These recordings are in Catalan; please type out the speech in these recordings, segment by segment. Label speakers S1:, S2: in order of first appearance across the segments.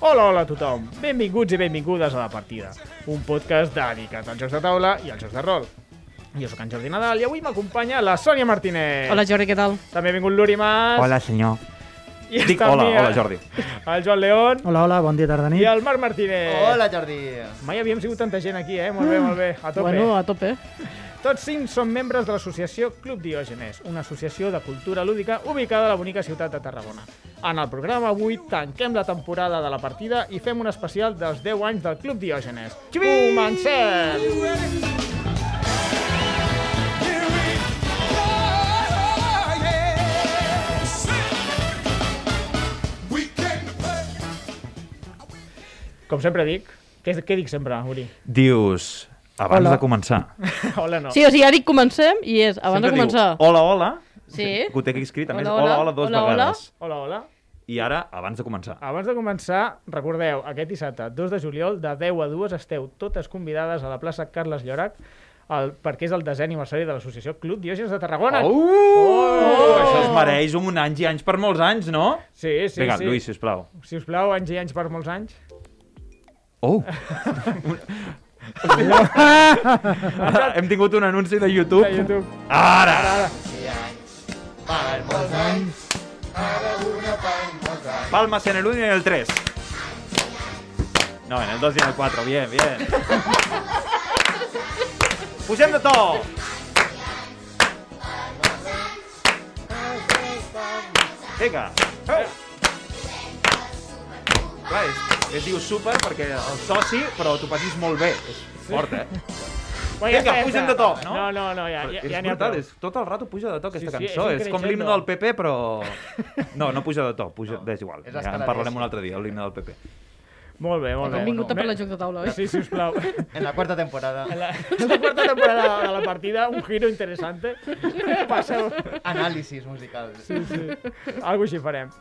S1: Hola, hola a tothom. Benvinguts i benvingudes a La Partida, un podcast dedicat als jocs de taula i als jocs de rol. Jo sóc en Jordi Nadal i avui m'acompanya la Sònia Martínez.
S2: Hola Jordi, què tal?
S1: També ha vingut l'Uri Mas.
S3: Hola, senyor.
S1: I
S3: Dic
S1: també
S3: hola,
S1: el-
S3: hola, Jordi.
S1: El Joan León
S4: Hola, hola, bon dia, tarda
S1: eh, i
S4: nit.
S1: el Marc Martínez.
S5: Hola, Jordi.
S1: Mai havíem sigut tanta gent aquí, eh? Molt bé, molt bé. A tope.
S2: Bueno, Oh, a tope.
S1: Tots cinc són membres de l'associació Club Diògenes, una associació de cultura lúdica ubicada a la bonica ciutat de Tarragona. En el programa avui tanquem la temporada de la partida i fem un especial dels 10 anys del Club Diògenes. Comencem! Com sempre dic, què, què dic sempre, Uri?
S3: Dius, abans
S4: Hola.
S3: de començar.
S1: Hola, no.
S2: Sí, o sigui, ara dic comencem i és, abans
S3: Sempre
S2: de començar.
S3: Diu, hola, hola.
S2: Sí.
S3: Que ho té aquí escrit, a més,
S2: Ah. Hola, hola,
S3: hola, hola, dues
S2: hola, hola.
S3: vegades.
S1: Hola, hola.
S3: I ara, abans de començar.
S1: Abans de començar, recordeu, aquest dissabte, 2 de juliol, de 10 a 2, esteu totes convidades a la plaça Carles Llorac el, perquè és el desè aniversari de l'associació Club Diògenes de Tarragona.
S3: Oh!
S1: Oh!
S3: Això es mereix un anys i anys per molts anys, no?
S1: Sí, sí,
S3: Vinga,
S1: sí.
S3: Lluís, sisplau.
S1: Si us plau, anys i anys per molts anys.
S3: Oh! Hem tingut un anunci de YouTube.
S1: A YouTube.
S3: Ara! Palmas en el 1 y en el 3. No, en el 2 y en el 4. Bien, bien. Pugem de to! Vinga. Eh. Clar, és, es diu super perquè el soci, però t'ho passis molt bé. És fort, eh?
S1: Bueno, ja
S3: Vinga,
S1: està, ja està.
S3: pugem de to, no?
S1: No, no, no, ja, ja, ja
S3: Però és
S1: n'hi ha
S3: brutal,
S1: prou.
S3: és, tot el rato puja de to aquesta
S1: Sí, sí, és
S3: cançó.
S1: un
S3: És, com
S1: crescendo.
S3: l'himne del PP, però... No, no puja de to, puja... és igual.
S5: és
S3: Ja en
S5: escaladés.
S3: parlarem un altre dia, l'himne del PP.
S1: Molt bé, molt
S2: Que
S1: bé.
S2: hem vingut a
S1: Bé,
S2: parlar de joc de taula, oi?
S1: Sí, si us plau.
S5: En la cuarta temporada.
S1: La, la quarta temporada de la partida, un giro interessante. Passeu,
S5: Análisis musical.
S1: Algo així farem.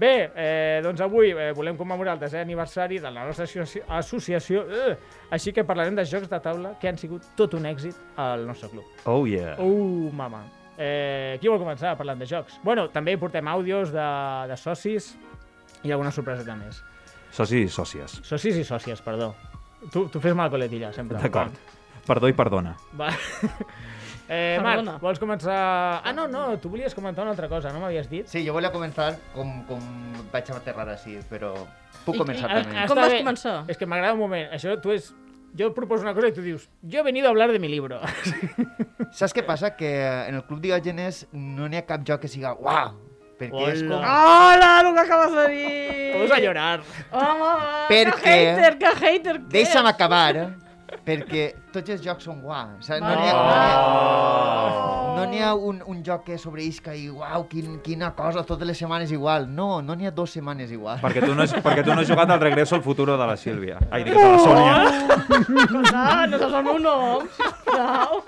S1: Bé, eh, doncs avui eh, volem commemorar el desè aniversari de la nostra associ- associació, eh, així que parlarem de jocs de taula que han sigut tot un èxit al nostre club.
S3: Oh, yeah.
S1: Uh, mama. Eh, qui vol començar parlant de jocs? Bueno, també portem àudios de, de socis i alguna sorpreseta més.
S3: Socis i sòcies.
S1: Socis i sòcies, perdó. Tu, tu fes mal coletilla, sempre.
S3: D'acord. Perdó i perdona.
S1: Va. Eh,
S2: Perdona.
S1: Marc, vols començar... Ah, no, no, tu volies comentar una altra cosa, no m'havies dit?
S5: Sí, jo volia començar com, com vaig a aterrar així, però
S2: I-
S5: puc començar
S2: i-
S5: també.
S2: Com
S1: Està
S2: vas
S1: bé.
S2: començar?
S1: És que m'agrada un moment. Això tu és... Jo proposo una cosa i tu dius, jo he venido a hablar de mi libro.
S5: Saps què passa? Que eh, en el Club Diògenes no n'hi ha cap joc que siga uau, perquè és com...
S1: Hola.
S2: Hola, el que acabes de dir!
S1: Ah. Vamos a llorar.
S2: Home,
S5: Per
S2: que
S5: què?
S2: hater, que hater, que
S5: Deixa'm acabar, perquè tots els jocs són uau. O sigui, no n'hi ha, no n'hi
S1: Oh.
S5: ha, no n'hi ha un, un joc que sobreïsca i uau, quin, quina cosa, totes les setmanes igual. No, no n'hi ha dues setmanes igual.
S3: Perquè tu no has, perquè tu no has jugat al regreso al futuro de la Sílvia. Ai, dic, de la
S1: Oh!
S3: Sònia.
S2: No, no se'ls el meu nom, sisplau.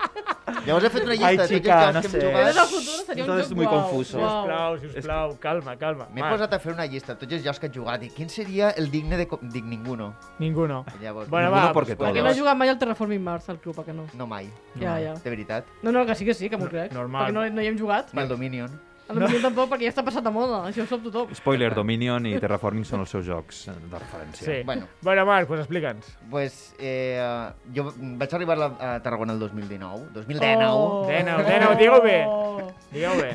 S5: Llavors he fet una llista
S3: Ai,
S5: de tots
S3: chica,
S5: els
S3: no
S5: jocs
S3: sé.
S5: que hem
S2: Regreso
S5: jugat.
S2: al futuro seria un
S3: Entonces
S2: joc
S3: muy
S2: guau,
S3: confuso.
S2: guau.
S1: Sisplau, sisplau, calma, calma.
S5: M'he
S1: Marc,
S5: posat a fer una llista de tots els jocs que he jugat i quin seria el digne de... co- Dic ninguno.
S1: Ninguno.
S5: Llavors,
S1: Bueno, va,
S3: Ninguno porque
S1: pues,
S2: Que
S3: todos.
S2: no he jugat mai al Terraforming Mars, al club, a que no.
S5: No mai,
S2: Ja, ja.
S5: de veritat.
S2: No, no, que sí que sí, que m'ho crec.
S1: normal.
S2: Perquè no, no hi hem jugat.
S5: Ni el Dominion.
S2: A lo millor tampoc, perquè ja està passat de moda. Això ho sap tothom.
S3: Spoiler, Dominion i Terraforming són els seus jocs eh, de referència.
S1: Sí. Bueno,
S5: Bueno.
S1: bueno Marc, pues explica'ns.
S5: Pues, eh, jo vaig arribar a la- a Tarragona el 2019, 2019,
S2: Oh.
S5: oh.
S1: Dèneu, dèneu, digue-ho bé. Digueu bé.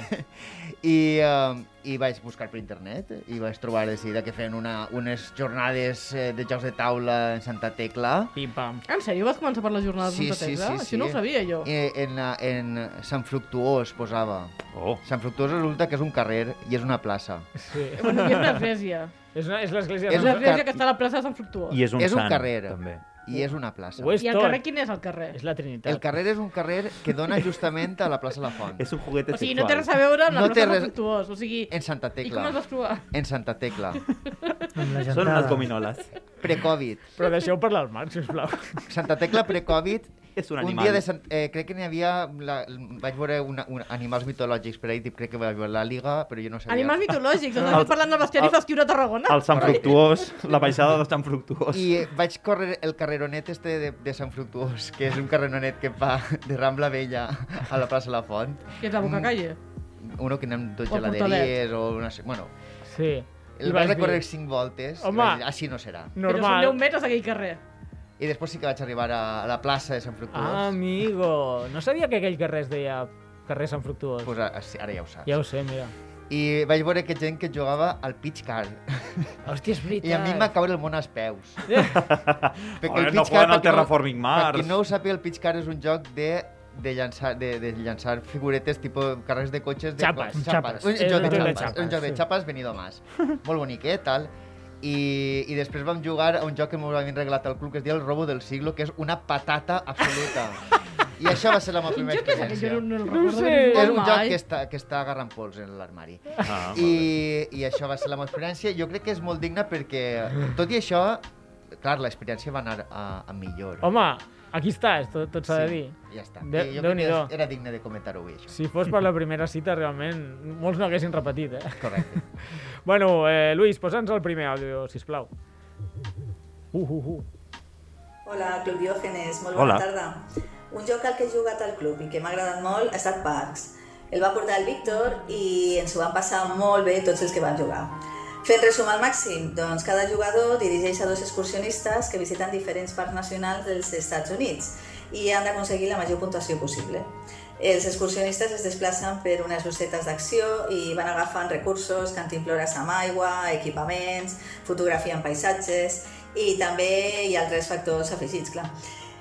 S5: i, eh, i vaig buscar per internet i vaig trobar de seguida que feien una, unes jornades eh, de jocs de taula en Santa Tecla.
S1: Pim, pam.
S2: Ah, En sèrio, vas començar per la jornada
S5: Sí,
S2: de Santa
S5: sí,
S2: Tecla?
S5: sí,
S2: Això
S5: sí.
S2: no ho sabia jo.
S5: Eh, en, la- en Sant Fructuós posava.
S3: Oh.
S5: Sant Fructuós resulta que és un carrer i és una plaça.
S1: Sí.
S2: Bueno, i és una església.
S1: És, una, és l'església...
S2: És
S5: És
S1: de-
S2: una
S5: un
S2: església
S5: car-
S2: que està a la plaça de Sant Fructuós. I,
S3: I és un
S5: és un
S3: sant,
S5: carrer.
S3: també.
S5: I és una plaça.
S1: Ho és
S2: el
S1: tot.
S2: carrer, quin és el carrer?
S1: És la Trinitat.
S5: El carrer és un carrer que dona justament a la plaça La Font.
S3: És un juguete
S2: O sigui, no té res a veure amb la
S5: No
S2: plaça
S5: té
S2: de
S5: res-
S2: Sant Fructuós. O sigui,
S5: En Santa
S2: i com
S5: Tecla.
S2: els vas trobar?
S5: En Santa Tecla.
S4: Amb la
S3: Són
S4: gentada.
S3: unes gominoles.
S5: Pre-Covid.
S1: Però deixeu parlar el Marc, sisplau.
S5: Santa Tecla pre-Covid
S3: és un
S5: Un
S3: animal.
S5: dia de Sant... Eh, crec que n'hi havia... La... Vaig veure una, un... animals mitològics per ahí, crec que vaig veure la Liga, però jo no sabia.
S2: Animals mitològics, doncs estem parlant del bestiari
S3: el-
S2: festiu de Tarragona.
S3: El Sant Fructuós, la baixada de Sant Fructuós.
S5: I eh, vaig córrer el carreronet este de, de Sant Fructuós, que és un carreronet que va de Rambla Vella a la plaça La Font. Mm.
S2: Que és la boca calle.
S5: Uno que anem dos
S2: O el
S5: geladeries o una... se- Bueno,
S1: Sí. I
S5: el
S1: vas
S5: vaig recórrer
S1: dir,
S5: cinc voltes
S1: Home.
S5: Home. i vaig dir, així no serà.
S2: Però són 10
S1: Normal.
S2: metres aquell carrer.
S5: I després sí que vaig arribar a, a la plaça de Sant Fructuós. Ah,
S1: Amigo, no sabia que aquell carrer es deia carrer Sant Fructuós.
S5: pues, a, a, ara ja ho saps.
S1: Ja ho sé, mira.
S5: I vaig veure que gent que jugava al pitch car.
S1: Hòstia, és veritat.
S5: I a mi em va caure el món als peus.
S3: Home, no
S5: pitch
S3: juguen
S5: car,
S3: al
S5: per qui
S3: Terraforming Mars.
S5: Per qui no ho sàpiga, el pitch car és un joc de de llançar, de, de llançar figuretes tipus carrers de cotxes... De
S1: Xapes,
S5: co-
S4: xapes.
S5: Un,
S1: És
S5: joc de
S1: un joc de
S5: xapes,
S1: xapes,
S5: un joc de
S1: sí.
S5: xapes venido más. Molt bonic, eh, tal. I, I després vam jugar a un joc que m'ho havien regalat al club que es deia El robo del siglo, que és una patata absoluta. I això va ser la meva
S2: Quin
S5: primera
S2: joc és aquell?
S5: experiència.
S2: Jo no, no el recordo.
S1: sé.
S2: de ningú
S5: És un joc
S2: mai.
S5: que està, que està agarrant pols en l'armari.
S3: Ah,
S5: I, I això va ser la meva experiència. Jo crec que és molt digna perquè, tot i això, clar, l'experiència va anar a, a millor.
S1: Home, aquí estàs, tot, tot s'ha de dir.
S5: Ja està.
S1: Dé-
S5: I jo crec
S1: Déu-n'hi-do.
S5: que era digne de comentar-ho avui, això.
S1: Si fos per la primera cita, realment, molts no haguessin repetit, eh?
S5: Correcte.
S1: Bueno, eh, Luis, posa'ns el primer àudio, sisplau. Uh, uh, uh.
S6: Hola, Club Diògenes, molt bona
S3: Hola.
S6: tarda. Un joc al que he jugat al club i que m'ha agradat molt ha estat Parks. El va portar el Víctor i ens ho van passar molt bé tots els que van jugar. Fent resum al màxim, doncs cada jugador dirigeix a dos excursionistes que visiten diferents parcs nacionals dels Estats Units i han d'aconseguir la major puntuació possible. Els excursionistes es desplacen per unes bossetes d'acció i van agafant recursos, cantimplores amb aigua, equipaments, fotografien paisatges i també hi ha altres factors afegits, clar.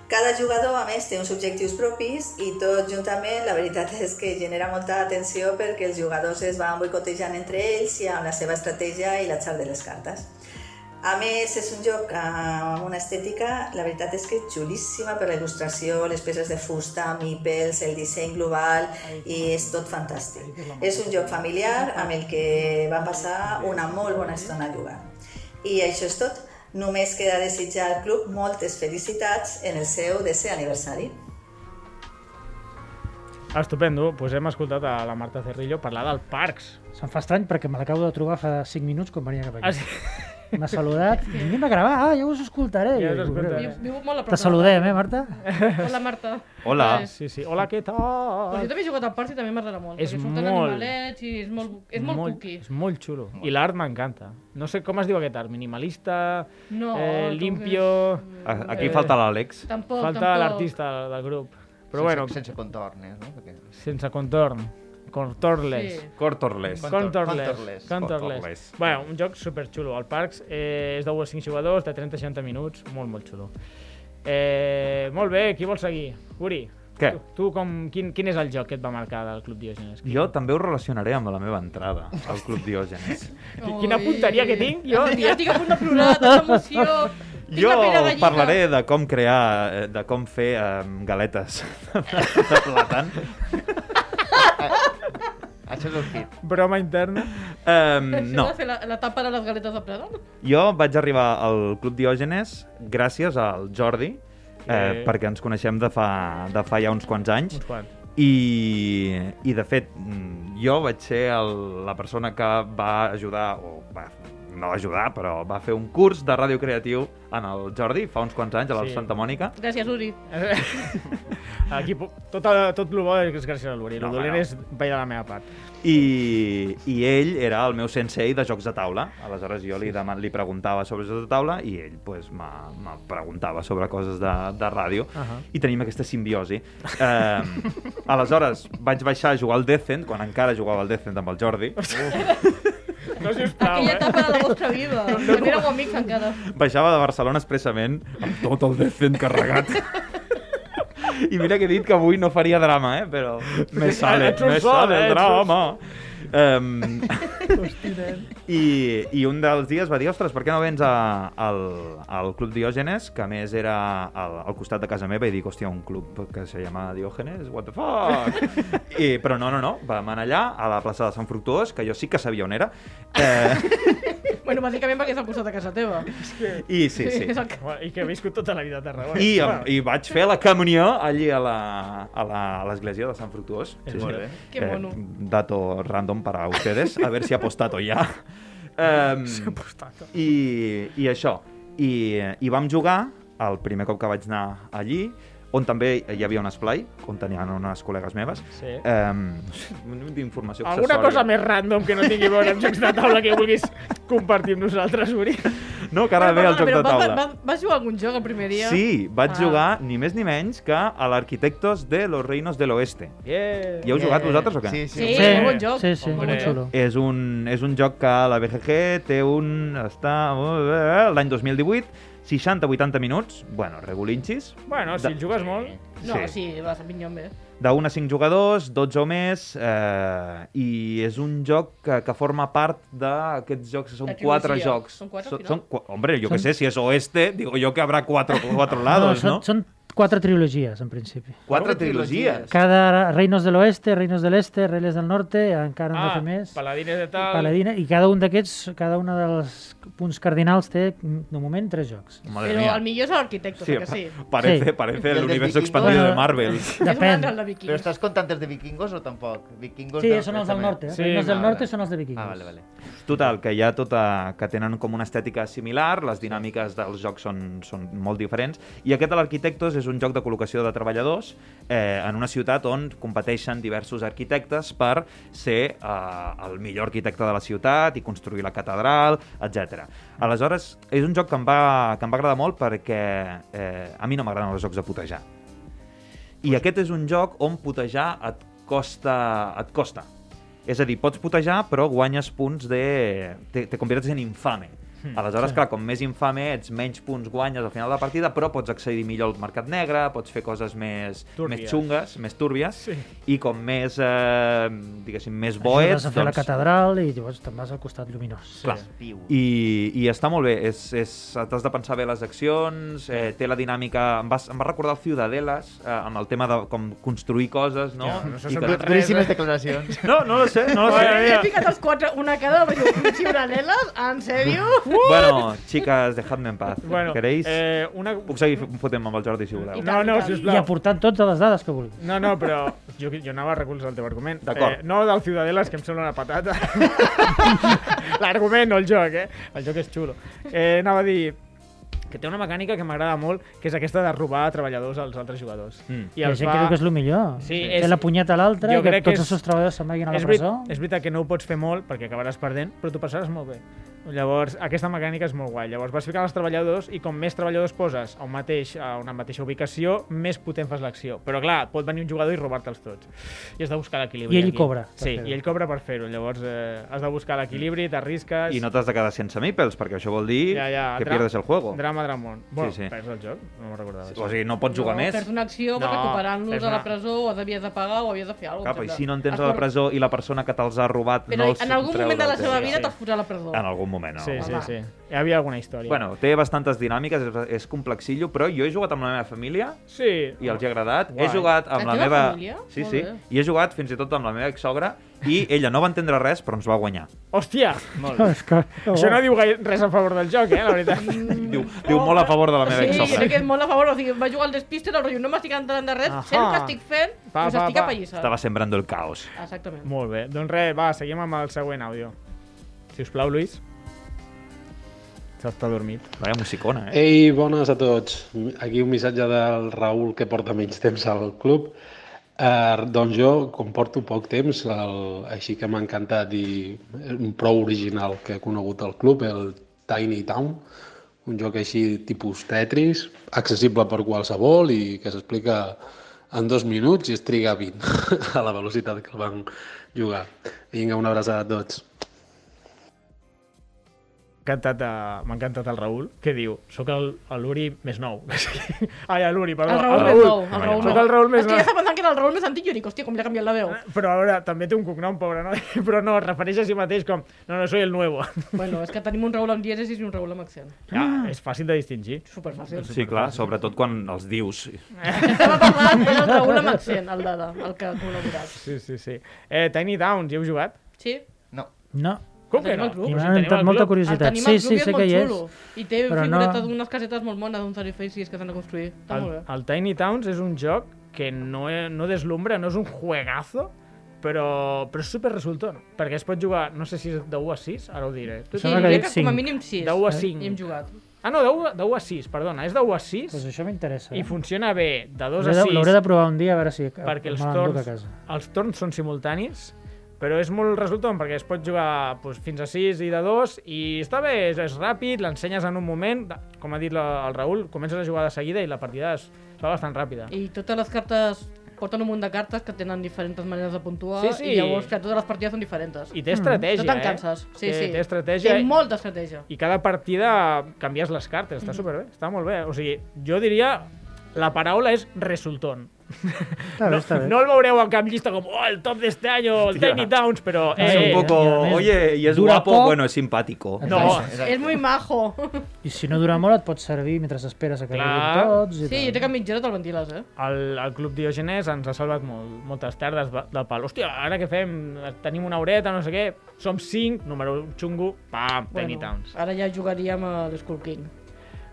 S6: Cada jugador, a més, té uns objectius propis i tot juntament la veritat és que genera molta atenció perquè els jugadors es van boicotejant entre ells i amb la seva estratègia i l'atzar de les cartes. A més, és un joc eh, amb una estètica, la veritat és que xulíssima per la il·lustració, les peces de fusta, mipels, el disseny global, i és tot fantàstic. És un joc familiar amb el que va passar una molt bona estona jugant. I això és tot. Només queda desitjar al club moltes felicitats en el seu desè aniversari.
S1: Estupendo, doncs hem escoltat a la Marta Cerrillo parlar del Parcs.
S4: Se'm fa estrany perquè me l'acabo de trobar fa 5 minuts quan venia cap
S1: Ah,
S4: aquí.
S1: sí?
S4: M'ha saludat. Anem a gravar. Ah, ja us escoltaré.
S1: Ja
S4: I
S1: us
S4: dic,
S1: escoltaré.
S4: "Veure,
S2: Viu- Viu molt a prop.
S4: Te
S2: de
S4: saludem, eh, Marta?
S2: Marta. Hola, Marta.
S3: Hola.
S2: Res.
S1: Sí, sí. Hola, què
S2: Doncs jo
S1: tal?
S2: també he jugat al parc i també m'agrada molt.
S1: És
S2: perquè surten
S1: molt-
S2: animalets i és molt, és molt, cuqui.
S1: És molt xulo. I l'art m'encanta. No sé com es diu aquest art, minimalista,
S2: No,
S1: eh,
S2: tu
S1: limpio...
S3: A- Aquí
S1: Eh,
S3: falta l'Àlex.
S2: Tampoc,
S1: Falta
S2: tampoc.
S1: l'artista del- del grup. Però bueno,
S5: sense, sense contornes, no? Perquè...
S1: sense contorn. Contornless.
S2: Sí.
S3: Cortorless.
S5: Con-
S1: Contorless.
S5: Contorless.
S1: Contorless.
S3: Contorless.
S1: Bueno, un joc superxulo. El Parcs eh, és de 1 a 5 jugadors, de 30 a 60 minuts. Molt, molt xulo. Eh, molt bé, qui vol seguir? Uri,
S3: Què?
S1: tu, tu com, quin, quin és el joc que et va marcar del Club Diògenes?
S3: Jo també ho relacionaré amb la meva entrada al Club Diògenes.
S1: Qui- Quina punteria que tinc, jo?
S2: Jo estic a punt de plorar, de tanta emoció. Tinc
S3: Jo
S2: la pell de gallina.
S3: parlaré de com crear, eh, de com fer em, galetes de plàtan.
S5: Això és el hit.
S1: Broma interna.
S3: Um,
S2: Això
S3: no,
S2: de fer la, la tapa de les galetes de plàtan?
S3: jo vaig arribar al Club Diògenes gràcies al Jordi, eh,
S1: Eh.
S3: perquè ens coneixem de fa, de fa ja uns quants anys.
S1: Uns quants.
S3: I, i de fet, mm, jo vaig ser el, la persona que va ajudar, o va, no va ajudar, però va fer un curs de ràdio creatiu en el Jordi fa uns quants anys a la
S1: Sí.
S3: Santa Mònica.
S2: Gràcies, Uri.
S1: Aquí, po- tot, el- tot el bo és gràcies a l'Uri.
S3: No,
S1: No, el
S3: home,
S1: dolent
S3: no.
S1: és veia de la meva part.
S3: I, i ell era el meu sensei de jocs de taula. Aleshores jo li, deman, li preguntava sobre jocs de taula i ell pues, me me preguntava sobre coses de, de ràdio. Uh
S1: Ahà.
S3: -huh. I tenim aquesta simbiosi. Eh, aleshores vaig baixar a jugar al Decent, quan encara jugava al Decent amb el Jordi.
S1: No, sisplau,
S2: Aquella etapa de la vostra vida. Quan éreu amics encara.
S3: Baixava de Barcelona expressament amb tot el Decent carregat. I mira que he dit que avui no faria drama, eh? però me sale,
S1: Ets un
S3: me
S1: sol,
S3: sale
S1: eh?
S3: el
S1: Ets un
S3: drama. Um, i, I un dels dies va dir, ostres, per què no vens a, al, al Club Diògenes, que a més era al, al costat de casa meva, i dic, hòstia, un club que se llama Diògenes, what the fuck? I, però no, no, no, vam anar allà, a la plaça de Sant Fructuós, que jo sí que sabia on era, eh,
S2: Bueno, bàsicament perquè és al costat de casa teva. Sí,
S3: I sí, sí.
S2: És el que...
S1: Bueno, I que he viscut tota la vida a Tarragona.
S3: I,
S1: Bueno,
S3: i vaig fer la comunió allí a la- a la- a l'església de Sant Fructuós. Sí,
S1: molt
S3: sí.
S1: bé.
S2: Que mono.
S3: dato random para ustedes, a ver si ha apostato ya. Um,
S1: apostato.
S3: I, I això. I, I vam jugar el primer cop que vaig anar allí, on també hi havia un esplai, on tenien unes col·legues meves.
S1: Sí.
S3: Em, no sé, d'informació
S1: Alguna
S3: accessòria.
S1: cosa més random que no tingui a veure amb jocs de taula que vulguis compartir amb nosaltres, Uri.
S3: No, que ara ve el joc de taula.
S2: Vas, vas jugar a algun joc el primer dia?
S3: Sí, vaig
S2: Ah.
S3: jugar ni més ni menys que a l'Arquitectos de los Reinos de l'Oeste.
S1: Yeah.
S3: Hi heu jugat vosaltres o què?
S5: Sí,
S2: Sí,
S5: sí.
S2: sí. molt bon joc.
S4: Sí, sí,
S1: Hombre.
S4: molt xulo.
S3: És un, és un joc que la BGG té un... està... eh, l'any 2018, 60-80 minuts, bueno, regulinxis,
S1: Bueno, si
S3: De-
S1: el jugues molt...
S2: No,
S3: Sí.
S2: sí, vas a pinyon bé.
S3: d'un a cinc jugadors, 12 o més, eh, i és un joc que, que forma part d'aquests jocs, que són
S2: La trilogia.
S3: quatre jocs.
S2: Són quatre al
S3: Són-
S2: final?
S3: són cua- hombre, jo que
S4: Són-
S3: sé, si és oeste, digo yo que habrá cuatro, cuatro lados,
S4: són,
S3: ¿no?
S4: són quatre trilogies, en principi.
S3: Quatre
S7: Quatre
S3: trilogies.
S7: trilogies.
S4: Cada Reinos de l'Oeste, Reinos de l'Este, Reinos del Norte, encara no
S1: Ah,
S4: fer més.
S1: paladines de tal...
S4: Paladina, i cada un d'aquests, cada un dels punts cardinals té, de moment, tres jocs.
S3: Madre
S2: Però
S3: mía.
S2: el millor és l'arquitecte, sí, que sí. Ah.
S3: pa- Parece,
S4: Sí.
S3: parece
S5: El
S3: el
S5: del vikingo.
S3: universo expandido de
S4: Bueno,
S3: Marvel.
S4: Depèn.
S2: És un de vikings.
S5: Però estàs contant els de vikingos o tampoc? Vikingos
S4: Sí,
S5: del-
S4: són els del
S5: també.
S4: norte. Eh?
S1: Sí,
S4: Sí, els del
S5: vale,
S4: norte
S5: vale.
S4: són els de vikingos.
S5: Ah, vale, vale.
S3: Total, que hi ha tota... que tenen com una estètica similar, les dinàmiques dels jocs són, són molt diferents, i aquest de l'Arquitectos és un joc de col·locació de treballadors eh, en una ciutat on competeixen diversos arquitectes per ser eh, el millor arquitecte de la ciutat i construir la catedral, etc. Aleshores, és un joc que em va, que em va agradar molt perquè eh, a mi no m'agraden els jocs de putejar. I aquest és un joc on putejar et costa... Et costa. És a dir, pots putejar, però guanyes punts de... Te, te conviertes en infame.
S4: Hmm,
S3: Aleshores, clar, com més infame ets, menys punts guanyes al final de la partida, però pots accedir millor al mercat negre, pots fer coses més,
S1: Túrbies.
S3: més xungues, més túrbies,
S1: Sí.
S3: i com més, eh, diguéssim, més bo
S4: Ajudes
S3: ets... doncs
S4: a fer
S1: doncs.
S4: la catedral i llavors te'n vas al costat lluminós.
S3: Clar.
S5: Piu.
S3: I, I està molt bé, és, és, t'has de pensar bé les accions, eh, té la dinàmica... Em, vas, em va recordar el Ciudadeles, eh, amb el tema de com construir coses, no?
S1: Ja, no se
S3: I
S1: sap
S3: que-
S1: res.
S5: Duríssimes declaracions.
S3: no, no lo sé, no lo sé.
S1: Bueno,
S2: He ficat els quatre, una cada, vaig dir, xiuraneles? En sèrio?
S3: Bueno, chicas, dejadme en paz.
S1: Bueno,
S3: Queréis?
S1: eh, una...
S3: Puc seguir f- fotent-me amb el Jordi, si voleu.
S1: No, no,
S4: I
S1: sisplau.
S4: aportant totes les dades que vulguis.
S1: No, no, però jo, jo anava a recolzar el teu argument.
S3: D'acord.
S1: Eh, no del Ciudadelas, que em sembla una patata. L'argument, no el joc, eh? El joc és xulo. Eh, anava a dir que té una mecànica que m'agrada molt, que és aquesta de robar treballadors als altres jugadors.
S3: Mm.
S4: I la gent creu que és el millor.
S1: Sí,
S4: Té
S1: és-
S4: la punyeta a l'altre
S1: jo
S4: i que
S1: crec que
S4: tots
S1: és-
S4: els seus treballadors se'n vagin a la
S1: és, veri-
S4: presó.
S1: és veritat que no ho pots fer molt perquè acabaràs perdent, però t'ho passaràs molt bé. Llavors, aquesta mecànica és molt guai. Llavors, vas ficant els treballadors i com més treballadors poses a, un mateix, a una mateixa ubicació, més potent fas l'acció. Però clar, pot venir un jugador i robar-te'ls tots. I has de buscar l'equilibri.
S4: I ell
S1: aquí.
S4: cobra per
S1: Sí,
S4: fer-ho.
S1: i ell cobra per fer-ho. Llavors, eh, has de buscar l'equilibri, t'arrisques...
S3: I no t'has de quedar sense maples, perquè això vol dir
S1: Ja, ja,
S3: que
S1: dra-
S3: pierdes el juego.
S1: Drama Dramon. Bueno,
S3: sí.
S1: perds el joc, no me'n recordava.
S3: O sigui, no pots jugar
S2: no,
S3: més.
S2: Perds una acció, vas
S1: No,
S2: recuperant-los
S1: perds
S2: a
S1: una-
S2: la presó, o havies de pagar o havies de fer alguna
S3: Cap,
S2: cosa.
S3: i si no en tens a la presó i la persona que te'ls ha robat
S2: Però
S3: no els
S2: en algun
S3: treu
S2: moment de la
S3: del
S2: seva
S3: joc.
S2: vida
S1: Sí.
S2: t'has posat a la presó.
S3: En algun moment, no.
S1: Sí, sí, sí. Hi havia alguna història.
S3: Bueno, té bastantes dinàmiques, és, és complexillo, però jo he jugat amb la meva família
S1: sí.
S3: i els hi ha agradat.
S1: Guai.
S3: He jugat amb
S2: La
S3: la,
S2: teva
S3: meva...
S2: família?
S3: Sí,
S2: Molt
S3: sí.
S2: bé.
S3: I he jugat fins i tot amb la meva exsogra i ella no va entendre res, però ens va guanyar.
S1: Hòstia!
S4: És que...
S1: Això no diu gaire res a favor del joc, eh, la veritat.
S3: Diu, diu molt a favor de la meva
S2: sí, crec que
S3: exsogra.
S2: és molt a favor, o sigui, va jugar al despiste del rotllo, no m'estic entrant de res,
S1: Ahà.
S2: sé el que estic fent,
S1: Pa,
S2: us
S1: pa,
S2: estic
S1: pa.
S2: apallissant.
S3: Estava sembrando el caos.
S2: Exactament.
S1: Molt bé. Doncs res, va, seguim amb el següent àudio. Si us plau, Luis. S'està dormit.
S3: Vaya musicona, eh?
S8: Ei, bones a tots. Aquí un missatge del Raül que porta menys temps al club. Eh, doncs jo, com porto poc temps, el, així que m'ha encantat i un prou original que he conegut al club, el Tiny Town, un joc així tipus Tetris, accessible per qualsevol i que s'explica en dos minuts i es triga 20 a la velocitat que el van jugar. Vinga, una abraçada a tots.
S1: M'ha encantat, eh, m'ha encantat el Raül, que diu, soc el, el Uri més nou. Ai, el Uri, perdó.
S2: El Raül més nou, el Raül
S1: Soc el Raül més
S2: És que ja
S1: nou.
S2: estava pensant que era el Raül més antic i jo dic, hòstia, com li ha canviat la veu.
S1: Però a veure, també té un cognom, pobre noi. Però no, es refereix a si mateix com, no, no, soy el nuevo.
S2: Ah. bueno, és que tenim un Raül amb dièresis i un Raül amb accent.
S1: Ja, és fàcil de distingir.
S2: Superfàcil.
S3: Sí, clar, sobretot quan els dius.
S2: Estava parlant, era
S1: eh?
S2: el Raül amb accent, el Dada, el que ha col·laborat.
S1: Sí, sí, sí. Eh, Tiny Downs, hi heu jugat?
S2: Sí?
S5: No.
S4: No.
S1: Com que
S2: tenim
S1: no?
S2: al club.
S4: I
S1: Però
S4: m'ha
S1: si tenim
S4: entrat
S1: el
S4: molta
S1: club.
S2: El
S4: curiositat.
S2: tenim
S4: Sí,
S2: al club
S4: sí,
S2: i és
S4: sé
S2: molt
S4: que hi és.
S2: xulo. I té
S4: però no-
S2: figuretes d'unes casetes molt mones, d'uns arifacis que s'han de construir. Està
S1: El,
S2: molt bé.
S1: el Tiny Towns és un joc que no, he- no deslumbra, no és un juegazo, però, però és super resultant, perquè es pot jugar, no sé si és de 1 a 6, ara ho diré. Tu-
S4: Sembla que ha
S2: crec
S4: dit
S2: eh, com a
S4: cinc. Eh?
S2: mínim 6.
S1: De 1 a 5.
S2: Hi hem jugat.
S1: Ah, no, de 1, a- de 1 a 6, perdona, és de 1 a 6
S4: Pues això m'interessa. eh?
S1: i funciona bé de
S4: L'hauré
S1: 2 a
S4: de-
S1: 6
S4: L'hauré de provar un dia a veure si
S1: perquè els
S4: me l'enduc a
S1: torns,
S4: casa.
S1: els torns són simultanis, però és molt resultant perquè es pot jugar doncs, fins a 6 i de 2 i està bé, és, és ràpid, l'ensenyes en un moment, com ha dit la, el Raül, comences a jugar de seguida i la partida es va bastant ràpida.
S2: I totes les cartes porten un munt de cartes que tenen diferents maneres de puntuar
S1: Sí, sí.
S2: i llavors que totes les partides són diferents. Mm.
S1: I té estratègia,
S2: no te'n canses.
S1: eh?
S2: Sí,
S1: té,
S2: sí.
S1: Té estratègia
S2: Té molta estratègia.
S1: i cada partida canvies les cartes. Està superbé, està molt bé. O sigui, jo diria... La paraula és resultón.
S4: Està bé, està bé.
S1: No el veureu en cap llista com oh, el top d'este any o el
S3: Hòstia.
S1: Tiny Downs, però...
S4: És
S3: Es
S1: Eh,
S3: un poco,
S4: y además,
S3: oye, y es
S4: dura
S3: guapo,
S4: poco.
S3: bueno, es simpático.
S4: No.
S1: No,
S2: És molt majo.
S4: I si no dura molt et pot servir mentre esperes a que
S1: Clar.
S4: arribin tots i
S2: Sí, jo
S4: tal.
S2: crec que a mitja hora te'l ventiles, eh?
S1: el, el Club Diogenes ens ha salvat molt, moltes tardes va- del pal. Hòstia, ara què fem? Tenim una horeta, no sé què. Som cinc, número un xungo, pam, bueno. Tiny Towns.
S2: ara ja jugaríem a l'Skull King.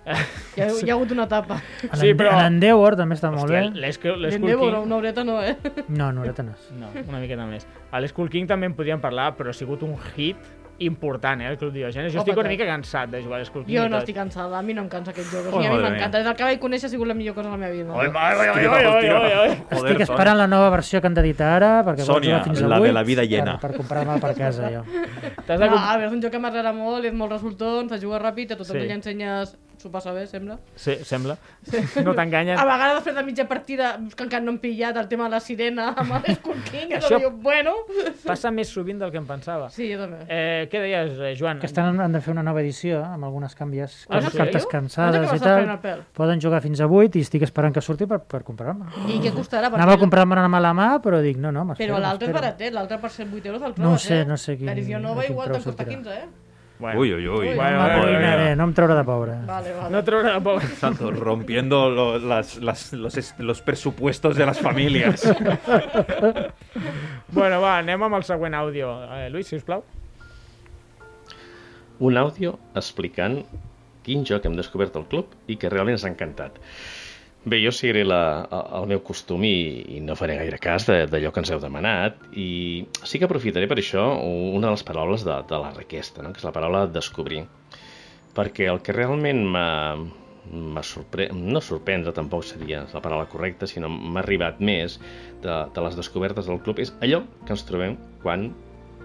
S2: Hi ha, hi ha hagut una etapa.
S4: En
S1: Sí,
S4: Ende-
S1: però-
S4: En Endeavor també està molt bé.
S1: Hòstia, l'Skull l'Skull
S2: L'Endeavor,
S1: King...
S2: una horeta no, eh?
S4: No, no, ara no és.
S1: No, una miqueta més. A l'Skull King també en podríem parlar, però ha sigut un hit important, eh, el Club Diogenes. Jo
S2: Home,
S1: estic una
S2: tant.
S1: mica cansat de jugar a l'Skull King.
S2: Jo
S1: i
S2: no
S1: tot.
S2: estic cansada, a mi no em cansa aquest joc. O
S3: Oh,
S2: sigui, a mi
S3: madre
S2: m'encanta. Des del que vaig conèixer ha sigut la millor cosa de la meva vida.
S1: Oi, oi, oi, oi, oi, oi, oi, oi.
S4: Estic esperant la nova versió que han d'editar ara, perquè vol
S3: Sònia,
S4: jugar fins a
S3: la de
S4: 8
S3: la vida llena.
S4: Per, per comprar-me per casa, jo.
S1: T'has de...
S2: No,
S1: comp-
S2: a veure, és un joc que m'agrada molt, és molt resultant, se juga ràpid, a tothom
S1: Sí.
S2: sí. li ensenyes s'ho passa bé, sembla.
S1: Sí, sembla. No t'enganyen.
S2: A vegades, després de mitja partida, que encara no hem pillat el tema de la sirena amb el Skull King, és
S1: Això-
S2: Això... bueno...
S1: Passa més sovint del que em pensava.
S2: Sí, jo també.
S1: Eh, què deies, eh, Joan?
S4: Que estan, han de fer una nova edició, eh, amb algunes canvies,
S1: Ah,
S4: ah,
S1: sí?
S4: cartes
S2: Tio,
S4: cansades
S2: pensa
S4: i
S2: que m'estàs
S4: tal.
S2: prenent el pèl.
S4: Poden jugar fins a 8 i estic esperant que surti per, per comprar-me.
S2: I què costarà? Perquè
S4: Anava a comprar-me una mala mà, però dic, no, no, m'espero.
S2: Però l'altre és
S4: m'espero.
S2: baratet, l'altre per ser 8 euros el trobes,
S4: No ho sé,
S2: eh?
S4: no sé quin-
S2: L'edició
S4: a
S2: nova
S4: quin
S2: igual
S4: preu
S2: te'n costa
S4: sortirà.
S2: 15, eh?
S1: Bueno,
S3: Uy, uy, uy.
S2: Uy,
S3: Bueno,
S4: No
S1: Bueno, bueno,
S4: m'arruïnaré, eh, no em traurà de pobre.
S2: Vale, vale.
S1: no traurà la pobra.
S3: Santo, rompiendo lo- las- las- los, es- los presupuestos de las familias.
S1: Bueno, va, anem amb el següent àudio. Eh, Lluís, sisplau.
S9: un àudio explicant quin joc hem descobert al club i que realment ens ha encantat. Bé, jo seguiré la, a- el meu costum i, i no faré gaire cas de- d'allò que ens heu demanat i sí que aprofitaré per això una de les paraules de, de la requesta, no? que és la paraula descobrir. Perquè el que realment m'ha m'ha sorpre... no sorprendre tampoc seria la paraula correcta, sinó m'ha arribat més de, de les descobertes del club, és allò que ens trobem quan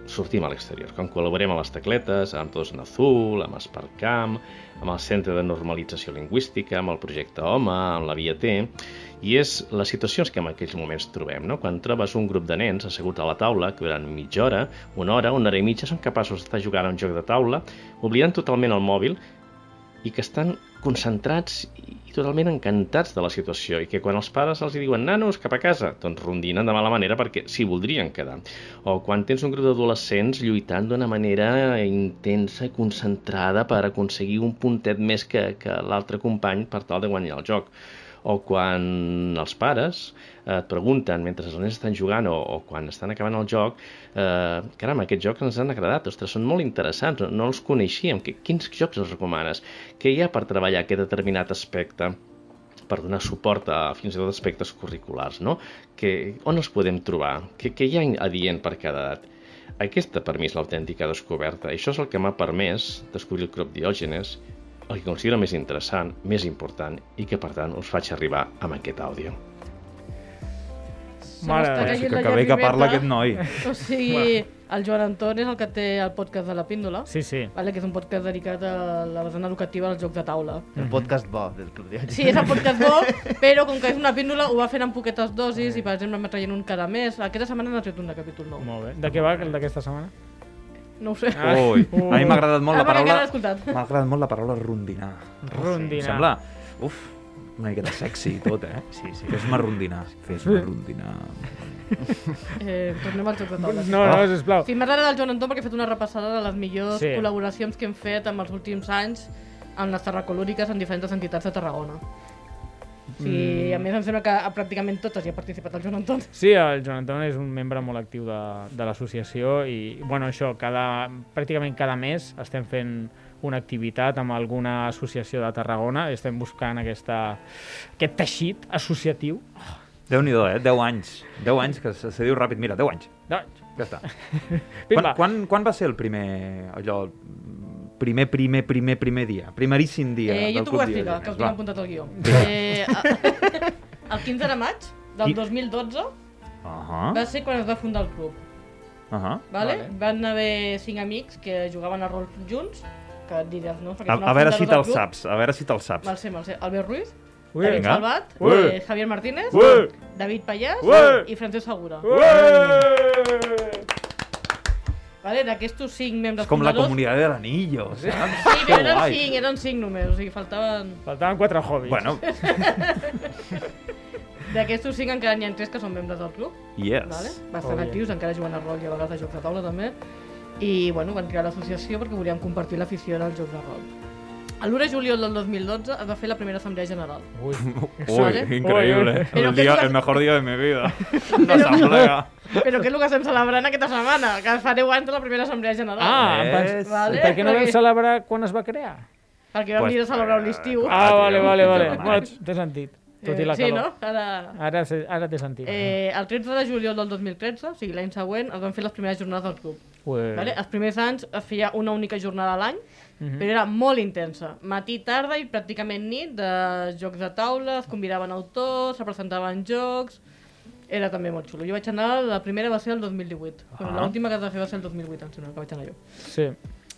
S9: sortim a l'exterior, quan col·laborem amb les tecletes, amb Tots en Azul, amb Esparcam, amb el Centre de Normalització Lingüística, amb el Projecte Home, amb la Via T, i és les situacions que en aquells moments trobem, no? Quan trobes un grup de nens asseguts a la taula, que durant mitja hora, una hora, una hora i mitja són capaços d'estar jugant a un joc de taula, oblidant totalment el mòbil i que estan concentrats i totalment encantats de la situació i que quan els pares els hi diuen nanos cap a casa, doncs rondinen de mala manera perquè s'hi voldrien quedar. O quan tens un grup d'adolescents lluitant d'una manera intensa i concentrada per aconseguir un puntet més que, que l'altre company per tal de guanyar el joc. O quan els pares eh, et pregunten mentre els nens estan jugant o, o quan estan acabant el joc eh, caram, aquests jocs ens han agradat, ostres, són molt interessants, no, no els coneixíem, que, quins jocs ens recomanes? Què hi ha per treballar aquest determinat aspecte? per donar suport a fins i tot aspectes curriculars, no? Que, on els podem trobar? Què, què hi ha adient per cada edat? Aquesta, per mi, és l'autèntica descoberta. Això és el que m'ha permès descobrir el crop diògenes, el que considero més interessant, més important i que, per tant, us faig arribar amb aquest àudio.
S2: Se
S1: Mare
S2: m'està
S1: de Déu.
S2: caient
S3: que,
S2: la
S3: que bé que
S2: llagrimeta.
S3: parla aquest noi.
S2: O sigui, el Joan Anton és el que té el podcast de La Píndola,
S1: Sí, sí.
S2: vale, que és un podcast dedicat a la vessant educativa dels jocs de taula.
S5: El podcast bo del Club Diògenes.
S2: Sí, és el podcast bo, però com que és una píndola ho va fent en poquetes dosis i, per exemple, m'ha traient un cada mes. Aquesta setmana n'ha tret un de capítol nou.
S1: Molt bé. De què va el d'aquesta setmana?
S2: No ho sé. Ah,
S3: Ui, a mi m'ha agradat molt
S2: perquè encara
S3: la paraula...
S2: l'he escoltat.
S3: M'ha agradat molt la paraula rondinar.
S1: Rondinar.
S3: Em sembla... Uf, una miqueta sexy i tot, eh? Sí, sí. Fes-me rondinar. Fes-me rondinar.
S2: Eh, tornem al joc de taula.
S1: No, no, sisplau.
S2: Sí, m'ha agradat el Joan Anton perquè ha fet una repassada de les
S1: Ah.
S2: millors
S1: Sí.
S2: sí. col·laboracions que hem fet en els últims anys amb les terracolúriques en diferents entitats de Tarragona. Sí, a més em sembla que a pràcticament totes hi ha participat el Joan Anton.
S1: Mm. Sí, el Joan Anton és un membre molt actiu de, de l'associació i, bueno, això, cada, pràcticament cada mes estem fent una activitat amb alguna associació de Tarragona i estem buscant aquesta, aquest teixit associatiu. Ah,
S3: Déu-n'hi-do, eh? 10 anys. 10 anys, que se, se diu ràpid. Mira, 10 anys.
S1: Doncs,
S3: Ja està. quan,
S1: Pimba.
S3: quan, quan va ser el primer, allò, el primer, primer, primer, primer dia? Primeríssim dia
S2: Eh, jo
S3: del
S2: t'ho vull
S3: Club
S2: explicar, que ho
S3: Diogenes,
S2: tinc
S3: va.
S2: apuntat al guió. Eh, a- el 15 de maig del
S3: Qui-
S2: 2012
S1: Ah.
S3: Ahà,
S2: va ser quan es va fundar el club.
S3: ahà.
S2: Vale?
S5: Vale.
S2: Van haver cinc amics que jugaven a rol junts, que et diràs, no? Perquè
S3: A,
S2: són
S3: a
S2: els
S3: veure
S2: fundadors
S3: si
S2: del
S3: te'l
S2: club.
S3: saps, a veure si te'l
S2: Val
S3: saps.
S2: ser, val ser. Albert Ruiz,
S1: Ui,
S2: David
S3: vinga.
S2: Salvat,
S3: Ui.
S2: eh, Javier Martínez,
S3: Ui.
S2: David Pallàs
S3: Ui.
S2: i Francesc Segura.
S3: És
S2: Vale? D'aquestos cinc membres
S3: com la
S2: fundadors...
S3: comunitat de l'anillo, saps?
S2: Sí, però
S3: Que
S2: eren
S3: guai.
S2: cinc, eren cinc només, o sigui, faltaven...
S1: faltaven quatre hobbies.
S3: Bueno,
S2: D'aquestos cinc encara n'hi ha tres que són membres del club. Vale?
S3: yes.
S2: Bastant
S1: Molt bé.
S2: actius, encara juguen a rol i a vegades a jocs de taula també. I bueno, van crear l'associació perquè volíem compartir l'afició als jocs de rol. El 1 de juliol del 2012 es va fer la primera assemblea general.
S1: Oh.
S3: Uy, increíble.
S2: Pero
S3: El,
S2: qué
S3: día-
S2: día-
S3: el mejor día de mi vida. Una asamblea.
S2: Però què és el que estem celebrant aquesta setmana? Que fa 10 anys de la primera assemblea general.
S1: Ah, em pens-
S3: Es-
S2: vale.
S1: per què no vam celebrar quan es va crear?
S2: Perquè vam
S3: Pues-
S2: dir de celebrar l'estiu.
S3: Ah,
S1: Ah, vale,
S3: tio,
S1: vale,
S3: quinze de
S1: vale.
S3: maig.
S1: Bueno, té sentit. Tot i la
S2: sí,
S1: calor.
S2: no? Ara...
S1: Ara, se- ara té sentit.
S2: Eh, el 13 de juliol del 2013, o sigui l'any següent, es van fer les primeres jornades del club.
S1: Ue.
S2: Vale? Els primers anys es feia una única jornada a l'any,
S3: Mhm.
S2: però era molt intensa. Matí, tarda i pràcticament nit, de jocs de taula, es convidaven autors, se presentaven jocs... Era també molt xulo. Jo vaig anar, la primera va ser el 2018. Ah. Bueno, l'última que es va fer va ser el 2008, em sembla que vaig anar jo.
S1: Sí.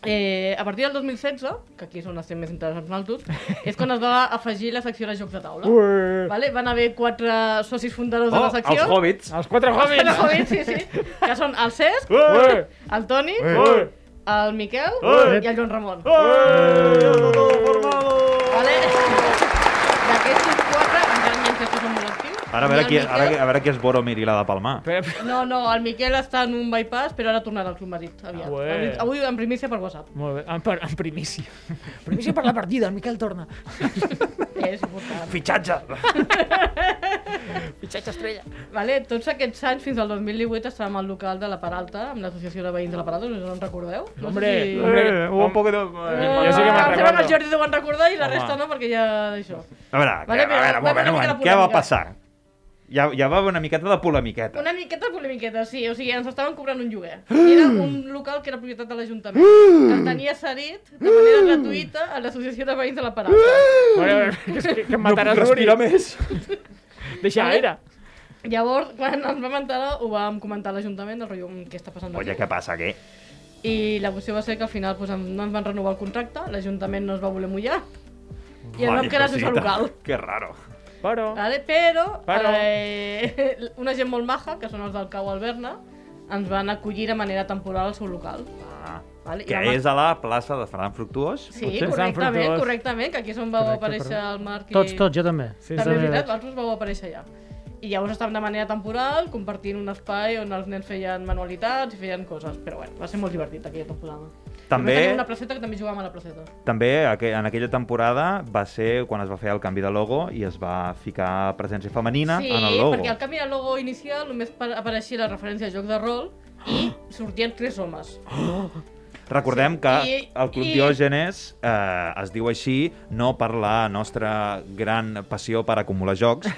S2: Eh, a partir del 2016, que aquí és on estem més interessants nosaltres, és quan es va afegir la secció de jocs de taula.
S1: Ue.
S2: Vale? Van haver quatre socis fundadors de
S3: Oh,
S2: la secció.
S3: els hobbits.
S1: Els quatre hobbies!
S2: Els hobbits, sí, sí. Que són el Cesc,
S1: Ue.
S2: el Toni,
S1: Ue.
S2: el Miquel i el Joan Ramon. Vale? D'aquestos quatre, encara n'hi ha tres que són molt actius.
S3: Ara a
S2: Hi ha
S3: veure
S2: el
S3: qui,
S2: Miquel-
S3: ara, a veure qui és Boromir i la de Palmar.
S1: Espera,
S2: No, no, el Miquel està en un bypass, però ara tornarà al Club Madrid, aviat.
S1: Ah, ué.
S2: Avui- Avui en primícia per WhatsApp.
S1: Molt bé, en, per, en primícia. Primícia per la partida, el Miquel torna.
S2: Eh, És important.
S3: Fitxatge!
S2: Vale, tots aquests anys, fins al 2018, estàvem al local de la Peralta, amb l'associació de veïns de la Peralta, no sé si en recordeu. No sé
S1: Hombre,
S2: si-
S1: hombre.
S3: Eh, hubo un poquito...
S2: Eh,
S1: Jo sí que me'n
S2: em sembla que
S1: recordo.
S2: el Jordi ho van recordar i la
S1: Home.
S2: resta no, perquè ja... Això.
S3: A veure, a
S2: Vale,
S3: veure,
S2: però
S3: a veure, un
S2: va
S3: moment,
S2: una
S3: un
S2: mica de
S3: moment. Què va
S2: polèmica.
S3: passar? Ja, ja va haver una miqueta de polemiqueta.
S2: Una miqueta polemiqueta, sí. O sigui, ens estaven cobrant un lloguer. I era un local que era propietat de l'Ajuntament. Que el tenia cedit de manera gratuïta a l'Associació de Veïns de la Parada.
S1: Bueno, eh, que, es- que, que em mataràs no Ruri.
S3: més.
S1: Deixa aire.
S2: Llavors, quan ens vam enterar, ho vam comentar a l'Ajuntament, del rotllo, "Mm, què està passant
S3: Oye,
S2: aquí?
S3: què passa, què?
S2: I la qüestió va ser que al final doncs, no ens van renovar el contracte, l'Ajuntament no es va voler mullar, i ens
S3: Vaya
S2: vam quedar sense
S3: cosita.
S2: local.
S3: Que raro.
S1: Però...
S2: Vale? Però,
S1: Però-
S2: Eh, una gent molt maja, que són els del Cau Alberna, ens van acollir de manera temporal al seu local.
S3: Ah.
S2: Vale? I
S3: Que
S2: vam-
S3: és a la plaça de Ferran Fructuós.
S2: Sí,
S1: Potser ens han
S2: correctament,
S1: fructuós.
S2: correctament, que aquí és on vau
S1: Correcte,
S2: aparèixer
S1: correcte.
S2: el Marc i...
S4: Tots, tots, jo també.
S1: Sí,
S2: També
S4: també
S2: és veritat,
S4: vaig.
S2: vosaltres vau aparèixer allà. I llavors estàvem de manera temporal, compartint un espai on els nens feien manualitats i feien coses. Però bueno, va ser molt divertit aquella temporada.
S3: També-
S2: Tenim una placeta que també jugàvem a la placeta.
S3: També aqu- en aquella temporada va ser quan es va fer el canvi de logo i es va ficar presència femenina
S2: sí,
S3: en el logo.
S2: perquè al canvi de logo inicial només pa- apareixia la referència a joc de rol i sortien tres homes.
S3: Recordem que
S2: I-
S3: el Club
S2: i-
S3: Diògenes eh, es diu així no per la nostra gran passió per acumular jocs,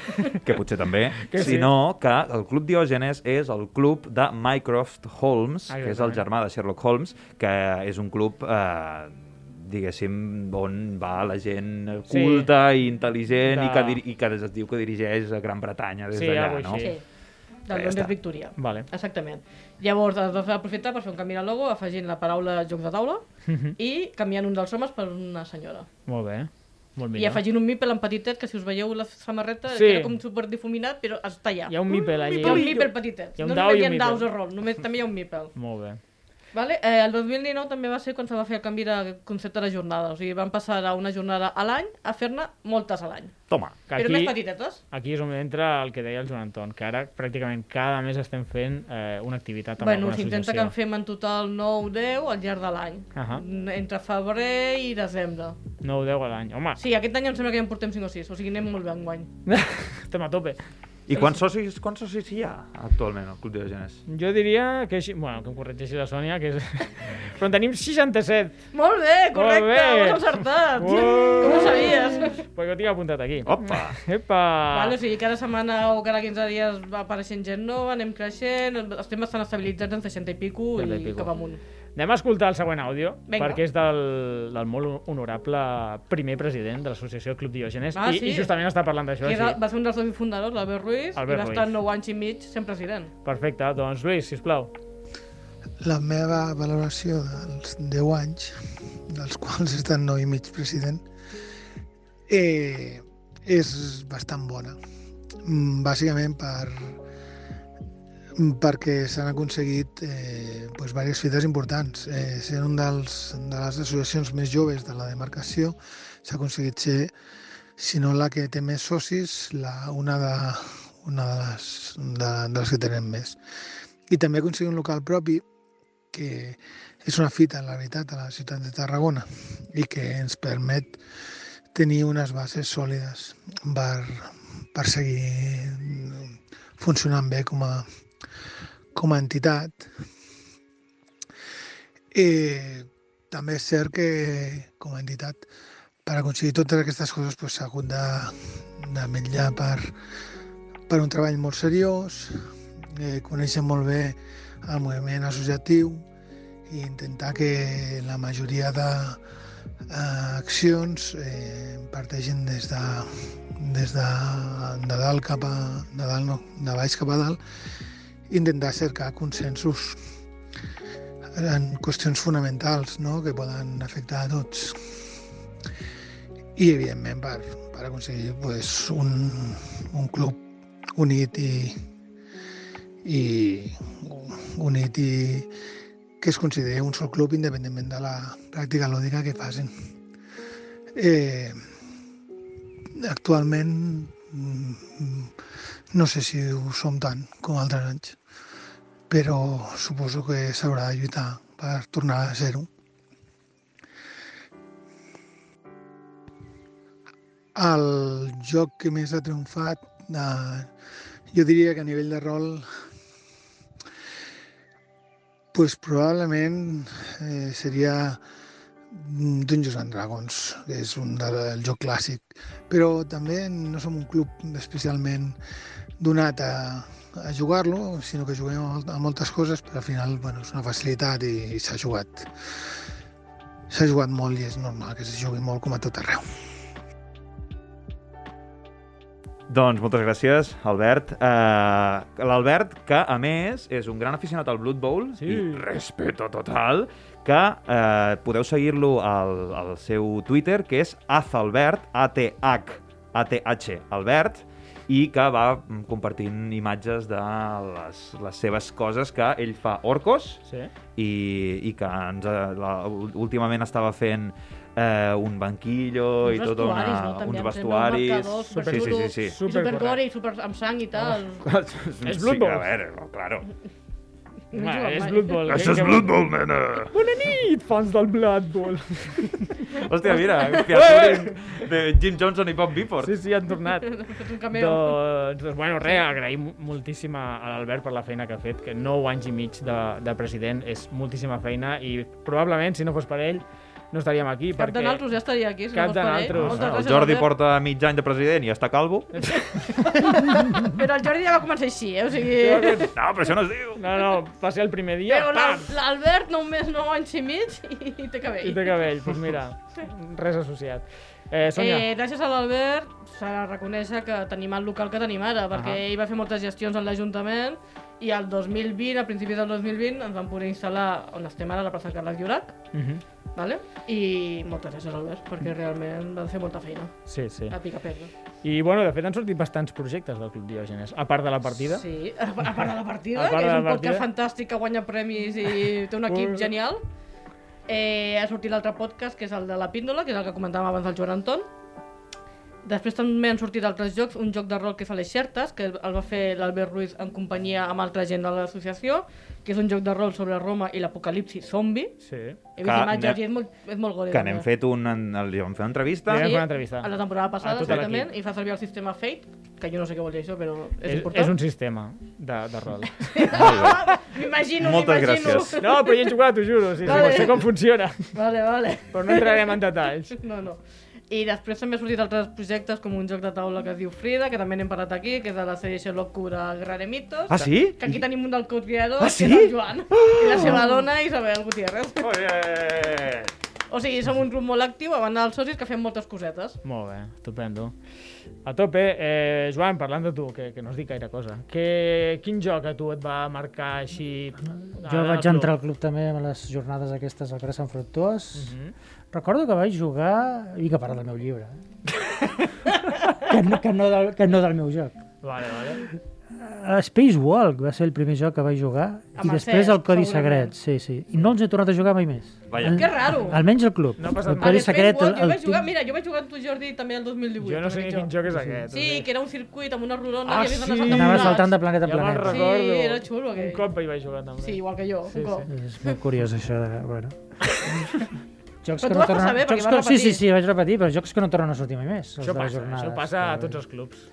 S3: que potser també,
S1: Que sí.
S3: sinó que el Club Diògenes és el club de Mycroft Holmes,
S1: Ah,
S3: que és el
S1: exactament.
S3: germà de Sherlock Holmes, que és un club... Eh, diguéssim, on va la gent
S1: Sí.
S3: culta i intel·ligent i,
S1: De-
S3: que dir- i que es diu que dirigeix a Gran Bretanya des
S1: Sí,
S3: d'allà,
S1: algo
S3: no?
S1: així.
S2: Sí.
S3: Ja
S2: Del Londres
S3: està.
S2: Victoria.
S1: Vale.
S2: Exactament. Llavors es va fer aprofitar per fer un canvi de logo afegint la paraula joc de taula
S1: Mhm.
S2: i canviant un dels homes per una senyora.
S1: Molt bé. Molt
S2: I afegint un mipel en petitet, que si us veieu la samarreta,
S1: Sí.
S2: sí. era com super difuminat, però està allà.
S1: Hi ha un mipel allà.
S2: Hi ha un mipel petitet.
S1: Hi ha un
S2: no
S1: dau i
S2: només
S1: un
S2: hi ha
S1: mipel.
S2: daus de rol, només també hi ha un mipel.
S1: Molt bé.
S2: Vale? Eh, el 2019 també va ser quan se va fer el canvi de concepte de jornada. O sigui, van passar d'una jornada a l'any a fer-ne moltes a l'any.
S3: Toma.
S1: Que
S2: Però més petitetes.
S1: Aquí és on entra el que deia el Joan Anton, que ara pràcticament cada mes estem fent eh, una activitat amb
S2: Bueno,
S1: alguna
S2: s'intenta
S1: associació.
S2: que en fem en total 9-10 al llarg de l'any.
S1: Ahà.
S2: Entre febrer i desembre.
S1: 9 10 a l'any. Home,
S2: Sí, aquest any em sembla que ja en portem 5 o 6, o sigui, anem molt bé enguany.
S1: estem a tope.
S3: I quants socis, quants socis hi ha actualment al Club Diogenes?
S1: Jo diria que... així- Bueno, que em corregeixi la Sònia, que és... Però en tenim 67.
S2: Molt bé,
S1: Molt
S2: correcte,
S1: bé.
S2: ho has encertat.
S1: Uau.
S2: Com ho sabies?
S1: Perquè ho tinc apuntat aquí.
S3: Opa!
S1: Epa!
S2: Vale, o sigui, cada setmana o cada 15 dies va apareixent gent nova, anem creixent, estem bastant estabilitzats en 60 i pico
S1: 60 i
S2: i
S1: pico.
S2: cap amunt.
S1: Anem a escoltar el següent àudio,
S2: Vinga.
S1: perquè és del, del molt honorable primer president de l'associació Club Diogenes,
S2: Ah,
S1: i,
S2: sí?
S1: i justament està parlant d'això.
S2: Que era,
S1: Sí.
S2: va ser un dels dos fundadors, l'Albert Ruiz,
S1: Albert
S2: i va estar
S1: Ruiz.
S2: 9 anys i mig sent president.
S1: Perfecte, doncs Lluís, sisplau.
S10: La meva valoració dels 10 anys, dels quals he estat 9 i mig president, eh, és bastant bona. Mm, Bàsicament per, perquè s'han aconseguit eh, doncs, diverses fites importants. Eh, sent un dels, de les associacions més joves de la demarcació, s'ha aconseguit ser, si no la que té més socis, la, una, de, una de, les, de, de les que tenen més. I també aconseguir un local propi que és una fita, en la veritat, a la ciutat de Tarragona i que ens permet tenir unes bases sòlides per, per seguir funcionant bé com a, com a entitat. Eh, també és cert que com a entitat per aconseguir totes aquestes coses doncs, s'ha hagut de, de vetllar per, per un treball molt seriós, eh, conèixer molt bé el moviment associatiu i intentar que la majoria de eh, accions eh, parteixin des de, des de, de dalt cap a de dalt no, de baix cap a dalt intentar cercar consensos en qüestions fonamentals no? que poden afectar a tots i evidentment per, per aconseguir pues, un, un club unit i, i unit i que es consideri un sol club independentment de la pràctica lúdica que facin. Eh, actualment mm, no sé si ho som tant com altres anys, però suposo que s'haurà de lluitar per tornar a ser-ho. El joc que més ha triomfat, eh, jo diria que a nivell de rol pues probablement eh, seria mm, Dungeons and Dragons, que és un del del joc clàssic, però també no som un club especialment donat a, a jugar-lo, sinó que juguem a, mol- a moltes coses, però al final bueno, és una facilitat i, i s'ha jugat. S'ha jugat molt i és normal que s'hi jugui molt com a tot arreu.
S3: Doncs moltes gràcies, Albert. Uh, L'Albert, que a més és un gran aficionat al Blood Bowl, sí. i respeto total, que uh, podeu seguir-lo al, al seu Twitter, que és azalbert, A-T-H, A-T-H, Albert, i que va mm, compartint imatges de les, les seves coses que ell fa orcos,
S1: Sí.
S3: i, i que ens, eh, la, últimament estava fent eh, un banquillo
S2: Uns
S3: Oh, i tot una,
S2: vestuaris, no? També em
S3: uns
S2: sembla, uns
S3: vestuaris.
S2: marcadors,
S3: sí, sí, sí,
S2: superxulos,
S3: sí.
S2: I supergore i super amb sang i tal.
S3: És
S1: Blood Bowl.
S3: Sí, a veure, no, claro.
S2: No he
S1: Home,
S2: jugat
S1: és
S2: mai.
S1: Blood Bowl.
S3: Això és Blood Bowl, nena!
S1: Bona nit, fans del Blood Bowl.
S3: Hòstia, mira, featuring de Jim Johnson i Bob Bifford.
S1: Sí, sí, han tornat.
S2: Hem fet un cameo.
S1: Doncs, doncs, bueno, res, agraïm moltíssim a a l'Albert per la feina que ha fet, que 9 anys i mig de, de president és moltíssima feina i probablement, si no fos per ell, no estaríem aquí.
S2: Cap de
S1: perquè...
S2: naltros ja estaria aquí, si
S1: Cap
S2: no fos
S1: de
S2: per ell.
S1: naltros.
S2: Moltes
S3: El
S2: gràcies,
S3: Jordi
S2: Albert.
S3: porta mig any de president i està calvo.
S2: Però el Jordi ja va començar així, eh? O sigui...
S1: Sí, aquest-
S3: No, però això no es diu.
S1: No, no, va ser el primer dia,
S2: Però l'Al-
S1: pam!
S2: l'Albert només 9 anys i mig i, i té cabell.
S1: I té cabell, doncs mira, res associat. Eh, Sònia,
S2: Eh, gràcies a l'Albert s'ha de reconèixer que tenim el local que tenim ara, perquè
S1: Ahà.
S2: ell va fer moltes gestions en l'Ajuntament i al 2020, a principis del 2020, ens van poder instal·lar on estem ara, a la plaça Carles Llorac,
S1: Mhm.
S2: Vale? I moltes gràcies, Albert, perquè realment va fer molta feina.
S1: Sí, sí.
S2: A pica perda.
S1: I, bueno, de fet, han sortit bastants projectes del Club Diògenes, a part de la partida.
S2: Sí, a a part de la partida,
S1: A part
S2: que
S1: de
S2: és
S1: la
S2: un podcast
S1: partida.
S2: fantàstic que guanya premis i té un equip
S1: Ui.
S2: genial. Eh, ha sortit l'altre podcast, que és el de la píndola, que és el que comentàvem abans del Joan Anton. Després també han sortit altres jocs, un joc de rol que fa les xertes, que el va fer l'Albert Ruiz en companyia amb altra gent de l'associació, que és un joc de rol sobre Roma i l'apocalipsi zombi.
S1: Sí.
S2: He vist
S3: Que
S2: imatges
S3: n'he-
S2: i és molt, és molt gore.
S3: Que n'hem
S2: també.
S3: fet un... en- Li vam fer una entrevista.
S2: Sí, a la temporada
S1: A
S2: passada,
S1: tot
S2: exactament, i fa servir el sistema Fate, que jo no sé què vol dir això, però és,
S1: És,
S2: important.
S1: és un sistema de, de rol.
S2: M'imagino,
S3: Moltes
S2: m'imagino.
S3: gràcies.
S1: No, però hi hem jugat, t'ho juro. Sí,
S2: Vale.
S1: sí, sé com funciona.
S2: Vale, vale.
S1: Però no entrarem en detalls.
S2: No, no. I després també ha sortit altres projectes com un joc de taula que es diu Frida, que també n'hem parlat aquí, que és de la sèrie Sherlock de Granemitos.
S3: Ah, sí?
S2: Que aquí tenim un del co-creador,
S3: Ah, sí?
S2: que és el Joan. I la seva dona, Isabel Gutiérrez. O sigui, som un grup molt actiu, a banda dels socis, que fem moltes cosetes.
S1: Molt bé, estupendo. A tope, eh, Joan, parlant de tu, que, que no has dit gaire cosa, que, quin joc a tu et va marcar així?
S4: Jo
S1: Ara,
S4: vaig
S1: tu.
S4: entrar al club també a les jornades aquestes al carrer Sant Fructuós. Recordo que vaig jugar... I que parla del meu llibre. eh? que, no, que, no del, que no del meu joc.
S1: Vale, vale.
S4: A Space Walk va ser el primer joc que vaig jugar
S1: Amb
S4: i
S1: el
S4: després el
S1: Cesc,
S4: Codi
S1: segurament.
S4: Secret, sí, sí. I no els he tornat a jugar mai més.
S1: Vaja.
S4: Al-
S1: Que raro.
S4: Almenys el club.
S1: No ha passat
S4: el
S1: mai.
S4: Codi
S1: Aquest
S4: Secret...
S2: World, jo
S4: el,
S2: vaig jugar, mira, jo vaig jugar amb tu, Jordi, també el 2018.
S1: Jo no sé ni quin joc és aquest.
S2: Sí, que era un circuit amb una rodona
S1: Ah,
S2: i havies
S1: sí?
S2: d'anar
S4: Anava
S2: plats.
S4: saltant de planeta en
S1: Ja me'n
S4: planeta.
S1: recordo.
S2: Sí, era xulo, aquell.
S1: Un cop hi vaig jugar, també.
S2: Sí, igual que jo, un cop.
S4: És molt curiós, això de... Bueno. jocs
S2: Però tu vas passar bé, perquè
S4: jocs
S2: vas
S4: que... Sí, sí,
S2: repetir.
S4: sí, vaig repetir, però jocs que no tornen a sortir mai més. els
S1: Això
S4: de les
S1: passa,
S4: jornades. eh.
S1: això passa a tots els clubs.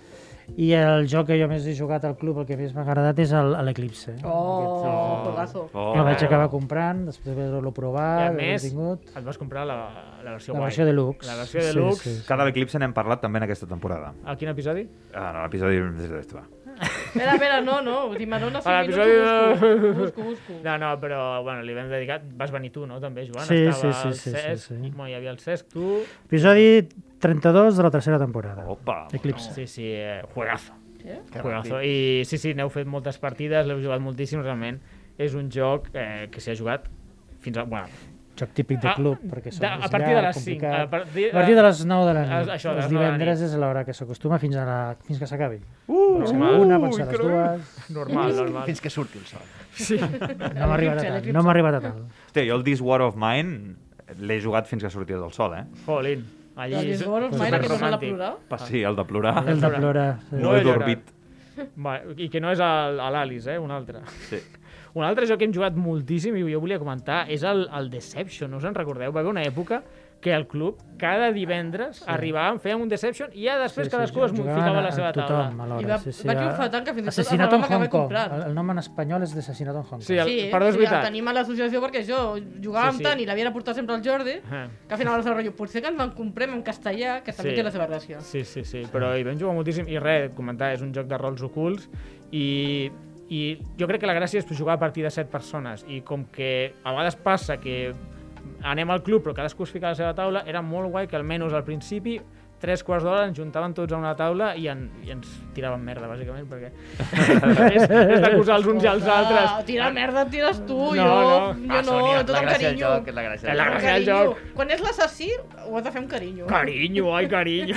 S4: I el joc que jo més he jugat al club, el que més m'ha agradat, és el- l'Eclipse.
S2: Oh, juegazo.
S3: Oh,
S4: el eh, vaig acabar comprant, després d'haver-lo
S1: I a
S4: provat,
S1: més,
S4: més... tingut...
S1: et vas comprar la, la versió
S4: La
S1: guai.
S4: versió deluxe.
S1: La versió deluxe.
S4: Sí, sí.
S3: Cada eclipse n'hem parlat també en aquesta temporada.
S1: A quin episodi?
S3: Ah, no, l'episodi... Espera,
S2: Espera, espera, no, no, si m'adones
S1: A
S2: 5
S1: l'episodi
S2: minuts ho
S1: de-
S2: busco, ho busco, ho busco.
S1: No, no, però bueno, li vam dedicar... Vas venir tu, no? També, Joan?
S4: Sí,
S1: Estava
S4: sí, sí,
S1: el
S4: sí, sí,
S1: Cesc,
S4: sí.
S1: Bueno, hi havia el Cesc, tu...
S4: Episodi 32 de la tercera temporada.
S3: Opa!
S4: Eclipse.
S1: Sí, sí, eh, juegazo.
S2: Eh?
S4: Que
S1: Juegazo.
S4: ràpid.
S1: I sí, sí, n'heu fet moltes partides, l'heu jugat moltíssim, realment. És un joc eh, que s'hi ha jugat fins a... Bueno,
S4: Joc típic de
S1: Ah,
S4: club, perquè
S1: de-
S4: són
S1: a partir de les cinc,
S4: complicat.
S1: a partir de-
S4: a partir de les 9 de la
S1: a-
S4: nit.
S1: això, a les
S4: els
S1: nou de la
S4: divendres és l'hora que s'acostuma fins, a la, fins que s'acabi.
S1: Uh,
S4: pot ser
S1: normal.
S4: una, pot ser
S1: Ui,
S4: les
S1: creu.
S4: dues...
S1: Normal, normal.
S5: Fins que surti el sol.
S1: Sí.
S4: No m'ha arribat a tant, no m'ha arribat a tant.
S3: Hòstia, jo el This War of Mine l'he jugat fins que sortia del sol, eh?
S1: Jolín. Allí
S2: El
S1: és
S2: This War of Mine, aquest és el de
S1: superromàntic.
S2: plorar?
S3: Pa- sí, el de plorar.
S4: El de plorar, sí.
S3: No he
S1: Llorar.
S3: dormit.
S1: Va, I que no és el- a l'Alice, eh? Un altre.
S3: Sí.
S1: Un altre joc que hem jugat moltíssim i jo volia comentar és el, el Deception, no us en recordeu? Va haver una època que el club cada divendres sí. arribàvem, fèiem un Deception i ja després sí, sí, cadascú es
S4: jugaven
S1: ficava a la
S4: a-
S1: seva
S4: a
S1: taula.
S4: Tothom, alhora,
S2: I va-
S4: sí, sí,
S2: va
S4: a-
S2: triomfar tant que fins i tot el
S4: Assassinat en
S2: programa que
S4: Hong
S2: vaig
S4: Kong.
S2: comprar.
S4: El, el nom en espanyol és d'assassinat en Hong Kong.
S1: Sí, el- perdó, és
S2: sí,
S1: veritat.
S2: el tenim a l'associació perquè jo jugàvem
S1: Sí, sí.
S2: tant i l'havia de portar sempre al Jordi,
S1: Ah.
S2: que al final va ser el rotllo, potser que ens en comprem en castellà, que també té la seva gràcia.
S1: Sí, sí, sí, però hi vam jugar moltíssim i res, et comentar, és un joc de rols ocults i, i jo crec que la gràcia és jugar a partir de 7 persones i com que a vegades passa que anem al club però cadascú es fica a la seva taula, era molt guai que almenys al principi tres quarts d'hora ens juntaven tots a una taula i, en, i ens tiraven merda, bàsicament, perquè és, és d'acusar els uns i els altres.
S2: Ah, tira merda, et tires tu,
S1: No,
S2: jo
S1: no.
S2: jo
S1: Ah,
S2: no,
S1: Sònia,
S2: tot
S1: la
S2: amb
S1: gràcia del
S2: carinyo.
S1: joc, és la gràcia del
S2: Amb
S1: joc. La gràcia del
S2: carinyo.
S1: joc.
S2: Quan és l'assassí, ho has de fer amb carinyo.
S1: Cariño, ay, cariño.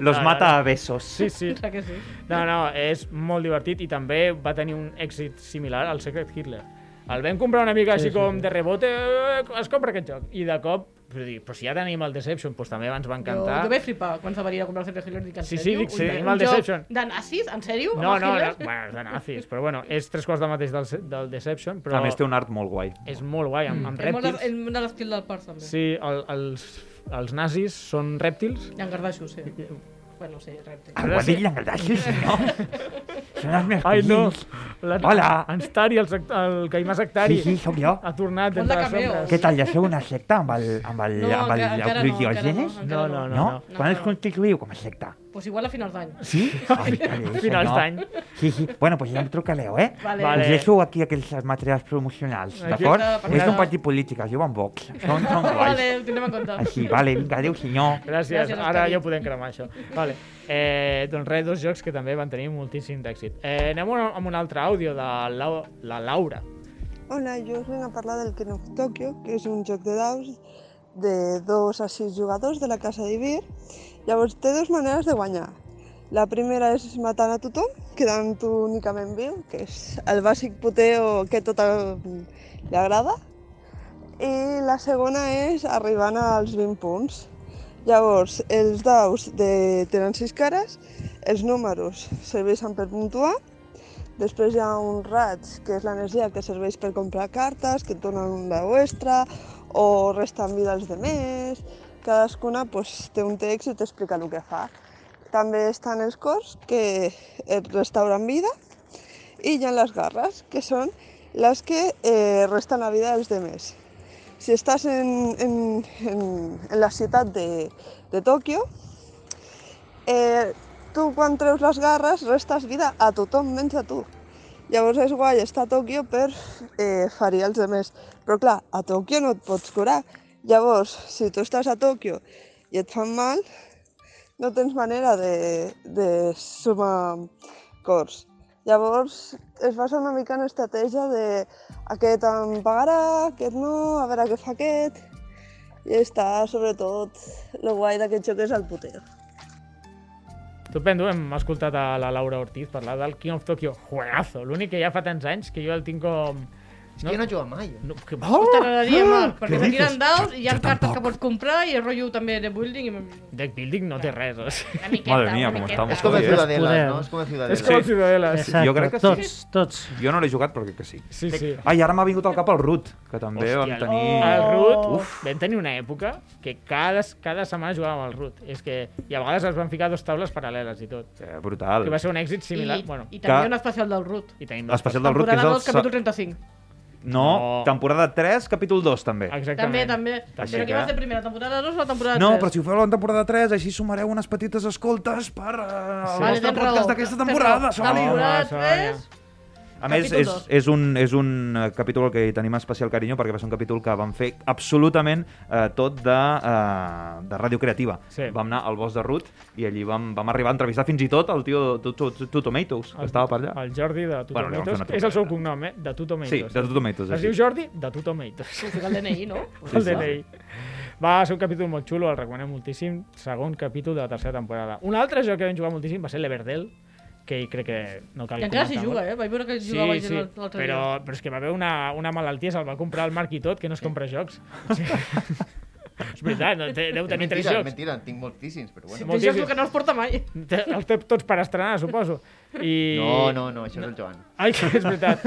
S3: Los
S1: No, no,
S3: mata
S1: no.
S3: a besos.
S1: Ah, eh. Sí, sí.
S2: Clar que sí.
S1: No, no, és molt divertit i també va tenir un èxit similar al Secret Hitler. El vam comprar una mica
S4: Sí,
S1: així
S4: sí,
S1: com
S4: sí.
S1: de rebote, eh, es compra aquest joc. I de cop, però, dic, però si ja tenim el Deception, doncs també ens va
S2: Jo,
S1: encantar.
S2: jo vaig flipar quan se va venir a comprar el Sergio Hiller, dic, en
S1: Sí, sí,
S2: sèrio?
S1: dic, sí,
S2: Un-
S1: tenim
S2: un
S1: el
S2: joc
S1: Deception.
S2: De nazis, en sèrio? Amb
S1: No,
S2: els
S1: no, no,
S2: Hitlers?
S1: bueno, és de nazis, però bueno, és tres quarts del mateix del, se- del Deception, però...
S3: A més, té un art molt guai.
S1: És molt guai, amb, amb
S2: És molt de-
S1: rèptils.
S2: és molt de l'estil del parc, també.
S1: Sí, el, els, els nazis són rèptils.
S2: I en Gardaixos, sí. Bueno, sí, repte.
S3: Armadilla, engreixis, no? Són els meus
S1: Ai, no.
S3: cousins.
S1: La,
S3: Hola.
S1: En Stari, el, sect- el Caimà Sectari.
S3: Sí, sí, sóc jo.
S1: Ha tornat
S2: Font de
S1: d'entre les
S2: cameo.
S1: ombres.
S3: Què tal, ja sou una secta amb el, amb el,
S2: No,
S3: amb el,
S2: encara- encara
S3: el
S2: no, encara
S3: Diogenes?
S2: no, encara no.
S3: no?
S1: No,
S3: Quan es constituïu com a secta?
S2: Pues igual a finals d'any.
S3: Sí? Ai, que bé,
S1: Finals
S3: senyor.
S1: d'any.
S3: Sí, sí. Bueno, pues ja em trucareu, eh?
S2: Vale.
S1: Vale.
S3: Us deixo aquí aquells materials promocionals,
S1: Aquí
S3: d'acord?
S2: està, per
S3: No és
S1: nada.
S3: un partit polític, es diu en Vox. Són, són
S2: Vale,
S3: guais.
S2: ho tindrem en compte.
S3: Així, vale, vinga, adéu, senyor.
S1: Gràcies,
S2: Gràcies,
S1: Gràcies ara
S2: Oscarit.
S1: ja ho podem cremar, això. Vale. Eh, doncs res, dos jocs que també van tenir moltíssim d'èxit. Eh, anem a- amb un altre àudio de la, la Laura.
S11: Hola, jo us vinc a parlar del Ken of Tokyo, que és un joc de daus de 2 a 6 jugadors de la casa d'Ibir. Llavors té dues maneres de guanyar. La primera és matant a tothom, quedant tu únicament viu, que és el bàsic poteo que tot el... li agrada. I la segona és arribant als 20 punts. Llavors, els daus de, tenen sis cares, els números serveixen per puntuar, després hi ha un raig, que és l'energia que serveix per comprar cartes, que et donen un dau extra, o resten vida als demés, cadascuna pues, té un text i t'explica el que fa. També estan els cors, que et restauren vida, i hi ha les garres, que són les que eh, resten la vida als demés si estàs en, en, en, en la ciutat de, de Tòquio, eh, tu quan treus les garres restes vida a tothom menys a tu. Llavors és guai estar a Tòquio per eh, ferir els demés. Però clar, a Tòquio no et pots curar. Llavors, si tu estàs a Tòquio i et fan mal, no tens manera de, de sumar cors. Llavors es basa una mica en estratègia de aquest em pagarà, aquest no, a veure què fa aquest... I està, sobretot, lo guai d'aquest joc és el puteo.
S1: Estupendo, hem escoltat a la Laura Ortiz parlar del King of Tokyo. Juegazo, l'únic que ja fa tants anys que jo el tinc com...
S5: És que jo no jugo mai.
S1: No, que...
S2: Oh, T'agradaria,
S3: Ah,
S2: Marc, perquè
S1: Què
S2: te
S1: dices?
S2: tiren daus i hi ha
S1: Jo
S2: cartes
S1: tampoc.
S2: que pots comprar i el rotllo també de building. I...
S1: Deck building no té res. O sigui.
S3: Madre mía, como estamos.
S1: Es como el
S3: hoy, ¿eh?
S1: Ciudadela, Podem. ¿no? Es como el Ciudadela. Es como el Ciudadela, sí.
S3: Jo crec que sí.
S1: Tots,
S4: tots.
S3: Jo no l'he jugat, però crec que sí.
S1: Sí, sí.
S3: Ai, ara m'ha vingut al cap el Root, que també
S1: Hòstia,
S3: vam tenir...
S1: El Root, uf, vam tenir una època que cada, cada setmana jugàvem al Root. És que, I a vegades es van ficar dues taules paral·leles i tot.
S3: Eh, brutal.
S1: Que va ser un èxit similar.
S2: I,
S1: bueno,
S2: i també un especial del Root.
S1: I tenim
S3: L'especial del Root, que és
S2: Temporada
S3: el...
S2: 2, capítol 35.
S3: No, temporada 3, capítol 2, també.
S2: També, també.
S3: Així
S2: però
S3: que-
S2: aquí va ser primera temporada 2 o la temporada 3?
S3: No, però si ho feu a la temporada 3, així sumareu unes petites escoltes per uh, sí. el
S2: Vale,
S3: nostre
S2: tens raó.
S3: podcast d'aquesta
S2: Tens
S3: temporada,
S2: raó.
S3: Sònia.
S2: Temporada tres,
S3: A més,
S2: capítol
S3: és,
S2: dos.
S3: és, un, és un eh, capítol que hi tenim especial carinyo perquè va ser un capítol que vam fer absolutament eh, tot de, eh, de ràdio creativa. Sí. Vam anar al bosc de Ruth i allí vam, vam arribar a entrevistar fins i tot el tio de Two- Two Two Tomatoes, que estava per allà.
S1: El Jordi de
S3: Bueno, li vam fer
S1: Tutomitos.
S3: una
S1: és el seu cognom, eh? De Tutomitos.
S3: Sí, de Tutomitos,
S1: Es
S3: així.
S1: diu Jordi de Tutomitos.
S2: Ho fica el DNI, no?
S1: El DNI. Va ser un capítol molt xulo, el recomanem moltíssim. Segon capítol de la tercera temporada. Un altre joc que vam jugar moltíssim va ser l'Everdell, que hi crec que no cal
S2: I encara s'hi
S1: comentar
S2: juga,
S1: molt.
S2: eh? Vaig veure que hi
S1: Sí,
S2: jugava gent
S1: sí,
S2: l'altre
S1: però,
S2: dia.
S1: però és que va haver una, una malaltia, se'l va comprar el Marc i tot, que no es compra jocs. O sigui, és veritat, no, té, deu
S5: És
S1: tenir tres
S5: mentira,
S1: jocs.
S5: és mentira, en tinc moltíssims, però bueno.
S2: Té jocs que no els porta mai.
S1: Té- Els té tots per estrenar, suposo. I...
S5: No, no, no, això és el Joan.
S1: Ai, que és veritat.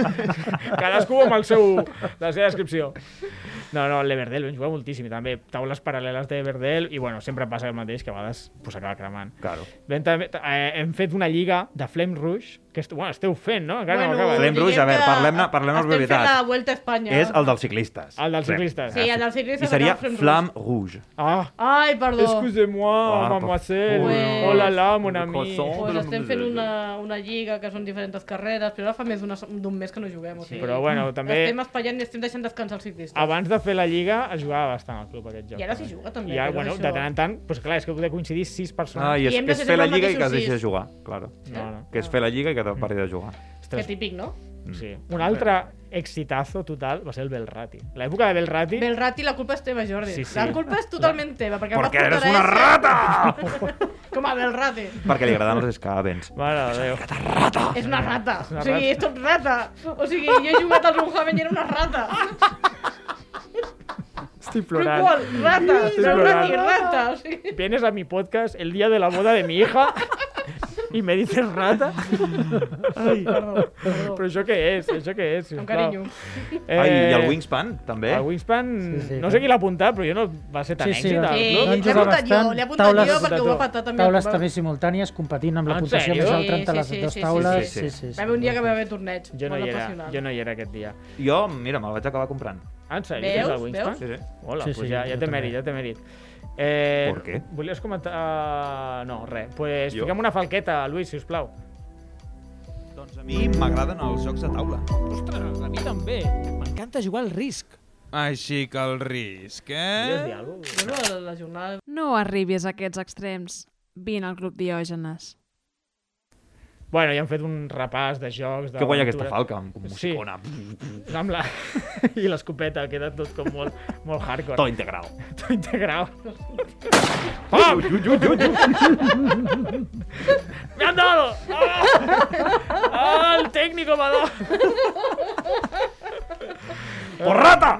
S1: Cadascú amb el seu, la seva descripció. No, no, l'Everdell vam jugar moltíssim. i També taules paral·leles d'Everdell i, bueno, sempre passa el mateix, que a vegades pues, acaba cremant.
S3: Claro.
S1: Vam, també, t- eh, hem fet una lliga de Flame Rush, que est bueno, esteu fent, no? Encara
S2: Bueno,
S1: no acaba. eh?
S3: Flame Rouge, a veure, parlem-ne parlem de
S2: Estem fent
S3: veritat.
S2: la Vuelta a Espanya.
S3: És el dels ciclistes.
S1: El dels
S3: Flem.
S1: ciclistes.
S2: Sí, el dels ciclistes
S3: I seria
S2: acaba fent
S3: Flam Rouge.
S1: Ah,
S2: Ai, perdó.
S1: Excusez-moi,
S3: Ah,
S1: mademoiselle.
S3: per favor.
S1: Oh là là, mon ami.
S2: Pues estem fent una, una lliga que són diferents carreres, però ara fa més d'una- d'un mes que no eh. juguem. O sigui,
S1: Però bueno, també- Ah,
S2: Estem espaiant i estem deixant descansar els ciclistes.
S1: Abans de fer la lliga es jugava bastant al club aquest joc.
S2: I ara s'hi juga, també,
S1: I ara,
S2: però
S1: bueno,
S2: això-
S1: de tant en tant, doncs clar, és que heu de coincidir sis persones.
S3: Ah, i és, que és fer la lliga i que es deixi de jugar, claro.
S1: No, no. Mm.
S3: Que és fer la lliga i que te'n parli de jugar.
S2: Que típic, no?
S1: Sí. Un altre exitazo total va ser el Belrati. L'època de Belrati...
S2: Belrati, la culpa és teva, Jordi.
S1: Sí, sí.
S2: La culpa és totalment teva, perquè... em vas
S3: Perquè eres
S2: portar
S3: una
S2: a ese-
S3: rata!
S2: Com a Belrati.
S3: Perquè li agraden els escabens.
S1: Mare de Déu.
S2: És una rata.
S3: una
S2: O sigui,
S3: rata.
S2: és tot rata. O sigui, jo he jugat al Runhaven i era una rata.
S1: Estic
S2: Però
S1: plorant.
S2: qual? Rata.
S1: Estic
S2: Belrati,
S1: plorant.
S2: rata. O sigui...
S1: Vienes a mi podcast el día de la boda de mi hija y me dices rata. Ai,
S2: Perdó, perdó.
S1: Però això què és? Això què és? sisplau? Eh,
S2: carinyo.
S3: Ai, i el Wingspan, també?
S1: El Wingspan,
S3: Sí, sí,
S1: no sé qui l'ha apuntat, però jo no va ser tan
S4: Sí, sí,
S1: èxit.
S4: va-
S1: al
S4: Sí,
S1: club.
S4: van jugar L'he apuntat jo, bastant. l'he apuntat Taules- jo perquè ho va
S2: patar també el
S4: Taules
S2: club.
S4: també simultànies, competint amb la
S1: En
S4: puntuació
S1: sèrio?
S4: més alta entre les dues taules.
S2: Va haver un dia que va haver torneig.
S1: Jo no
S2: molt
S1: hi era,
S2: apassionant.
S1: jo no hi era aquest dia.
S3: Jo, mira, me'l vaig acabar comprant.
S1: Ah, en sèrio?
S2: Veus?
S1: Tens el Wingspan?
S2: Veus? Sí,
S3: sí.
S1: Hola,
S3: Sí,
S1: pues
S3: sí,
S1: ja, ja
S3: jo
S1: té
S3: també.
S1: mèrit, ja té mèrit. Eh,
S3: Per què?
S1: Volies comentar... Uh, no, res. Pues jo? fiquem una falqueta, Lluís, si us plau.
S3: Doncs A mi m'agraden els jocs de taula.
S1: Ostres, a mi també. M'encanta jugar al risc.
S12: Així que el risc,
S1: Em
S12: eh?
S2: Bueno, la jornada...
S13: No arribis a aquests extrems. Vine al Club Diògenes.
S1: Bueno, ja han fet un repàs de jocs... De
S3: Que guai aquesta
S1: aventura.
S3: falca, amb com
S1: Sí.
S3: musicona.
S1: Amb la... I l'escopeta, ha quedat tot com molt, molt hardcore.
S3: Tot integral.
S1: Tot integral. Ah! Pam!
S3: Ui, ui, ui, ui.
S1: ¡Me han dado! ¡Ah! ¡Ah, el técnico me ha dado!
S3: ¡Porrata!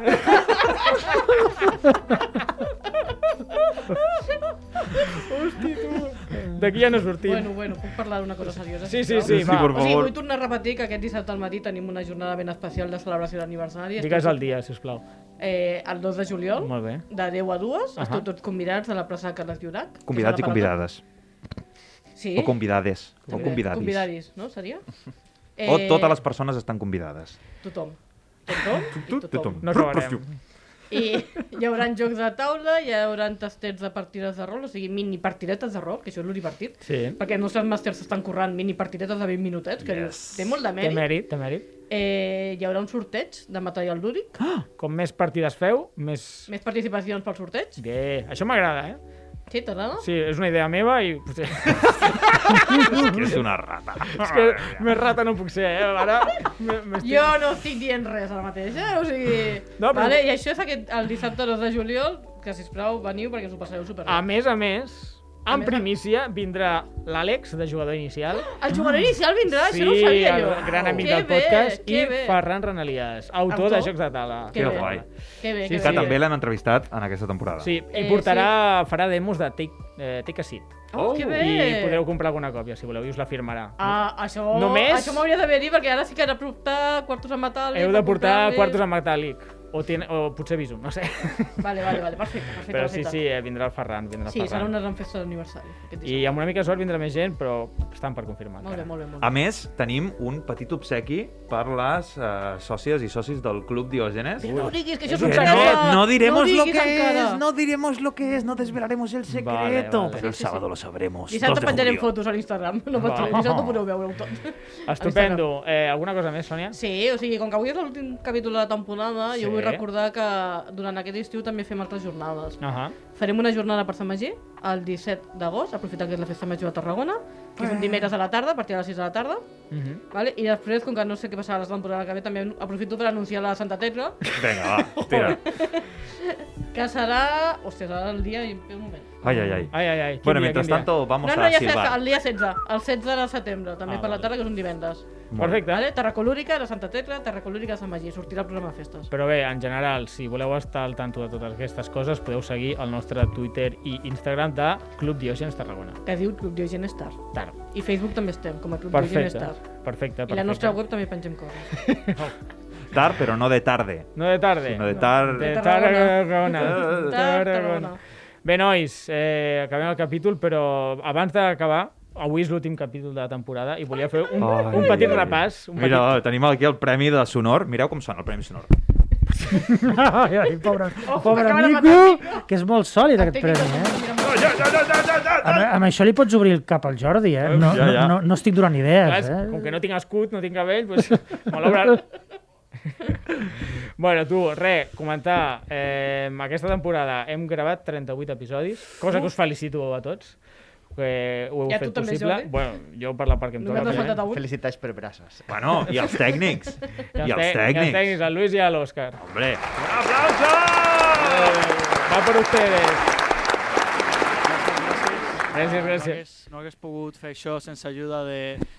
S1: Hosti, tu! D'aquí ja no sortim.
S2: Mm. Bueno, bueno, puc parlar d'una cosa seriosa?
S1: Sí, sí,
S2: sisplau?
S1: sí, Sí, va. por
S2: O sigui,
S1: favor.
S2: vull tornar a repetir que aquest dissabte al matí tenim una jornada ben especial de celebració d'aniversari.
S1: Digues el dia, sisplau.
S2: Eh, el 2 de juliol,
S1: Molt bé.
S2: de 10 a 2. Uh -huh.
S3: Ahà.
S2: Esteu tots convidats a la plaça Carles Llorac. que és a la
S3: Convidats i
S2: Palau de-
S3: convidades.
S2: Sí.
S3: O convidades. O
S2: També.
S3: convidadis.
S2: Convidadis, no? Seria?
S3: O
S2: Eh,
S3: totes les persones estan convidades.
S2: Tothom. Tothom i tothom.
S3: Tothom.
S1: No acabarem.
S2: I hi haurà jocs de taula, hi haurà tastets de partides de rol, o sigui, mini partidetes de rol, que això és l'univertit.
S1: Sí.
S2: Perquè els nostres màsters s'estan currant mini partidetes de 20 minutets, que yes. té molt de
S1: Té
S2: mèrit.
S1: mèrit, té mèrit.
S2: Eh, hi haurà un sorteig de material lúdic,
S1: Com més partides feu, més...
S2: més participacions pel sorteig.
S1: Bé, això m'agrada, eh?
S2: Sí, t'agrada?
S1: Sí, és una idea meva i... potser-
S3: Que és una rata.
S1: és que més rata no puc ser, eh? Ara... m- m'estic-
S2: Jo no estic dient res ara mateix, eh? O sigui...
S1: No, però-
S2: No, però... vale, I això és aquest, el dissabte 2 de juliol, que sisplau, veniu perquè us ho passareu superbé.
S1: A més a més,
S2: A
S1: en
S2: més a-
S1: primícia vindrà l'Àlex, de jugador inicial.
S2: El jugador inicial vindrà,
S1: sí,
S2: això no ho sabia
S1: el
S2: jo.
S1: gran amic
S2: Que
S1: del
S2: bé,
S1: podcast,
S2: que
S1: i
S2: bé.
S1: Ferran Renalias, autor,
S2: Autor?
S1: de Jocs de Tala.
S3: Que Que bé. guai.
S2: Que bé,
S3: Sí, que també l'hem entrevistat en aquesta temporada.
S1: Sí, i
S2: Eh,
S1: portarà, farà demos de Take, eh, take a Seat.
S2: Oh, que bé.
S1: I podreu comprar alguna còpia, si voleu, i us la firmarà.
S2: Ah, això,
S1: Només-
S2: això m'hauria d'haver dit, perquè ara sí que he de portar quartos en metàl·lic.
S1: Heu de portar
S2: comprar-li.
S1: quartos en metàl·lic. O, ten, o potser Visum, no sé.
S2: Vale, vale, vale, perfecte, perfecte.
S1: Però sí,
S2: perfecte.
S1: sí, eh, vindrà el Ferran. Vindrà el
S2: Sí, serà
S1: Ferran.
S2: una gran festa d'aniversari. aquest
S1: I amb una mica de sort vindrà més gent, però estan per confirmar.
S2: Molt bé, molt bé, molt bé.
S3: A més, tenim un petit obsequi per les eh, sòcies i socis del Club Diògenes.
S2: No diguis que això és
S3: Eh,
S2: un secret.
S3: No diremos lo que
S2: encara.
S3: es, no diremos lo que es, no desvelaremos el secreto.
S1: Vale, vale.
S3: Pero el sábado lo sabremos.
S2: Dissabte
S3: 2 de
S2: penjarem
S3: julio.
S2: fotos a l'Instagram. No pot
S1: Vale.
S2: ser, dissabte podeu veure-ho tot. A l'Instagram.
S1: Estupendo. Eh, alguna cosa més, Sònia?
S2: Sí, o sigui, com que avui és l'últim capítol de la temporada,
S1: Sí.
S2: jo vull recordar que durant aquest estiu també fem altres jornades.
S1: Ahà.
S2: Farem una jornada per Sant Magí, el 17 d'agost, aprofitant que és la festa major de Tarragona, que és un
S11: Ah.
S2: dimecres a la tarda, a partir de les 6 de la tarda.
S1: Mhm.
S2: Vale? I després, com que no sé què passarà la temporada que ve, també aprofito per anunciar la Santa Tecla,
S3: Vinga, va, tira.
S2: que serà... Hòstia, serà el dia... i- Un moment.
S3: Ai, ai, ai.
S1: Ai, ai, ai. Quin
S3: Bueno,
S1: dia,
S3: mientras
S1: quin dia?
S3: tanto, vamos
S2: no, no,
S3: a
S2: ja sé, el
S3: silbar.
S2: dia 16, el 16 de setembre, també
S1: Ah,
S2: per la tarda, que és un divendres.
S1: Molt bé. Perfecte.
S2: Vale? Terra Colúrica, de Santa Tecla, Terra Colúrica de Sant Magí, sortirà el programa de festes.
S1: Però bé, en general, si voleu estar al tanto de totes aquestes coses, podeu seguir el nostre Twitter i Instagram de Club Diògenes Tarragona.
S2: que diu Club Diogen Star.
S1: Tard.
S2: I Facebook també estem, com a Club
S1: Perfecte,
S2: Diogen Star.
S1: perfecte,
S2: I la
S1: perfecte.
S2: nostra web també pengem coses.
S3: Tar, pero no de tarde.
S1: No de tarde.
S3: Sino de tar...
S1: De Tarragona.
S2: Tarragona. Tarragona.
S1: Tarragona. Bé, nois, eh, acabem el capítol, però abans d'acabar, avui és l'últim capítol de la temporada i volia fer un,
S3: Ai,
S1: un petit
S3: ai, ai.
S1: repàs. Un
S3: Mira, tenim aquí el Premi de Sonor. Mireu com sona el Premi Sonor.
S4: Ai, ai, pobre,
S2: Ojo,
S4: pobre
S2: acaba de
S4: mico, que és molt sòlid aquest premi, eh? Amb, amb això li pots obrir el cap al Jordi, eh? No,
S3: Ja,
S4: no,
S3: ja.
S4: no, no estic donant
S1: Clar,
S4: idees,
S1: és-
S4: eh?
S1: com que no tinc escut, no tinc cabell, doncs me l'obran. bueno, tu, re, comentar. Eh, aquesta temporada hem gravat 38 episodis, cosa que us felicito a tots. Que ho heu
S5: I a tu
S1: fet
S5: també,
S1: possible.
S5: Jordi?
S1: Bueno, jo per la part que em toca. òbviament.
S5: Felicitats per braços.
S3: Bueno, Ah, i els tècnics. I els
S1: tè- I els
S3: tècnics.
S1: tècnics, el Luis i l'Òscar.
S3: Hombre.
S1: Va per ustedes. Gràcies,
S13: No
S1: gràcies.
S13: hagués, no hagués pogut fer això sense ajuda de,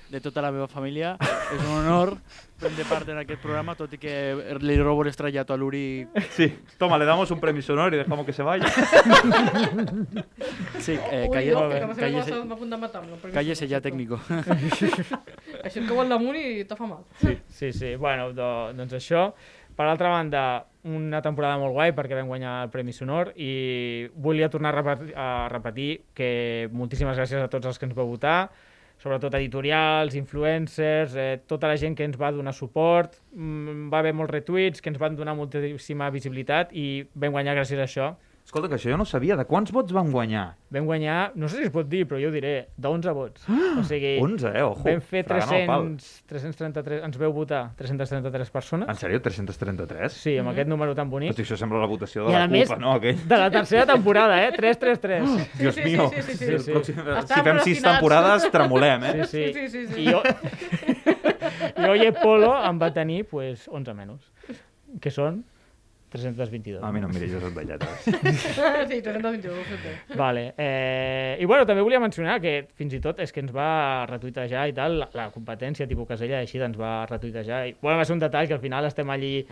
S13: de tota la meva família. És un honor prendre part en aquest programa, tot i que li Eh, robo l'estrellat a l'Uri.
S3: Sí, toma, le damos un Premi Sonor y dejamos que se vaya.
S13: Sí, eh,
S2: Ui,
S13: calle,
S2: no, que com a ser
S13: cállese-
S2: cosa m'ha apuntat a matar-lo. perquè-
S13: cállese ya técnico.
S2: Això et cau al damunt i te fa mal.
S1: Sí, sí, bueno, do, doncs això. Per altra banda, una temporada molt guai perquè vam guanyar el Premi Sonor i volia tornar a repetir, a repetir que moltíssimes gràcies a tots els que ens vau votar, sobretot editorials, influencers, eh, tota la gent que ens va donar suport, mm, va haver molts retuits, que ens van donar moltíssima visibilitat i vam guanyar gràcies a això.
S3: Escolta, que això jo no sabia. De quants vots van guanyar?
S1: Vam guanyar, no sé si es pot dir, però jo ho diré, d'11 vots. O sigui,
S3: 11, Ah! eh? Ojo,
S1: vam fer
S3: fregant el pal.
S1: 300, 333, ens veu votar 333 persones.
S3: En sèrio, 333?
S1: Sí, amb aquest número tan bonic.
S3: Hosti, això sembla la votació de
S1: I
S3: la
S1: a més,
S3: CUP, no? Aquell.
S1: de la tercera temporada, eh? 3-3-3.
S3: Oh, Dios
S1: sí, sí,
S3: mío.
S1: sí, sí, sí,
S3: Si el
S1: sí.
S3: pròxim- si
S1: Estàvem
S3: fem
S1: relacionats.
S3: sis temporades, tremolem, eh?
S1: Sí, sí.
S2: Sí, sí, sí, sí.
S1: I jo... jo i Polo em va tenir, pues, 11 menys. Que són 322.
S3: A mi no em eh? miris les velletes.
S2: sí, 321, ho sé.
S1: Vale. Eh, I bueno, també volia mencionar que fins i tot és que ens va retuitejar i tal, la, la competència tipus Casella així ens va retuitejar. I, bueno, va ser un detall que al final estem allí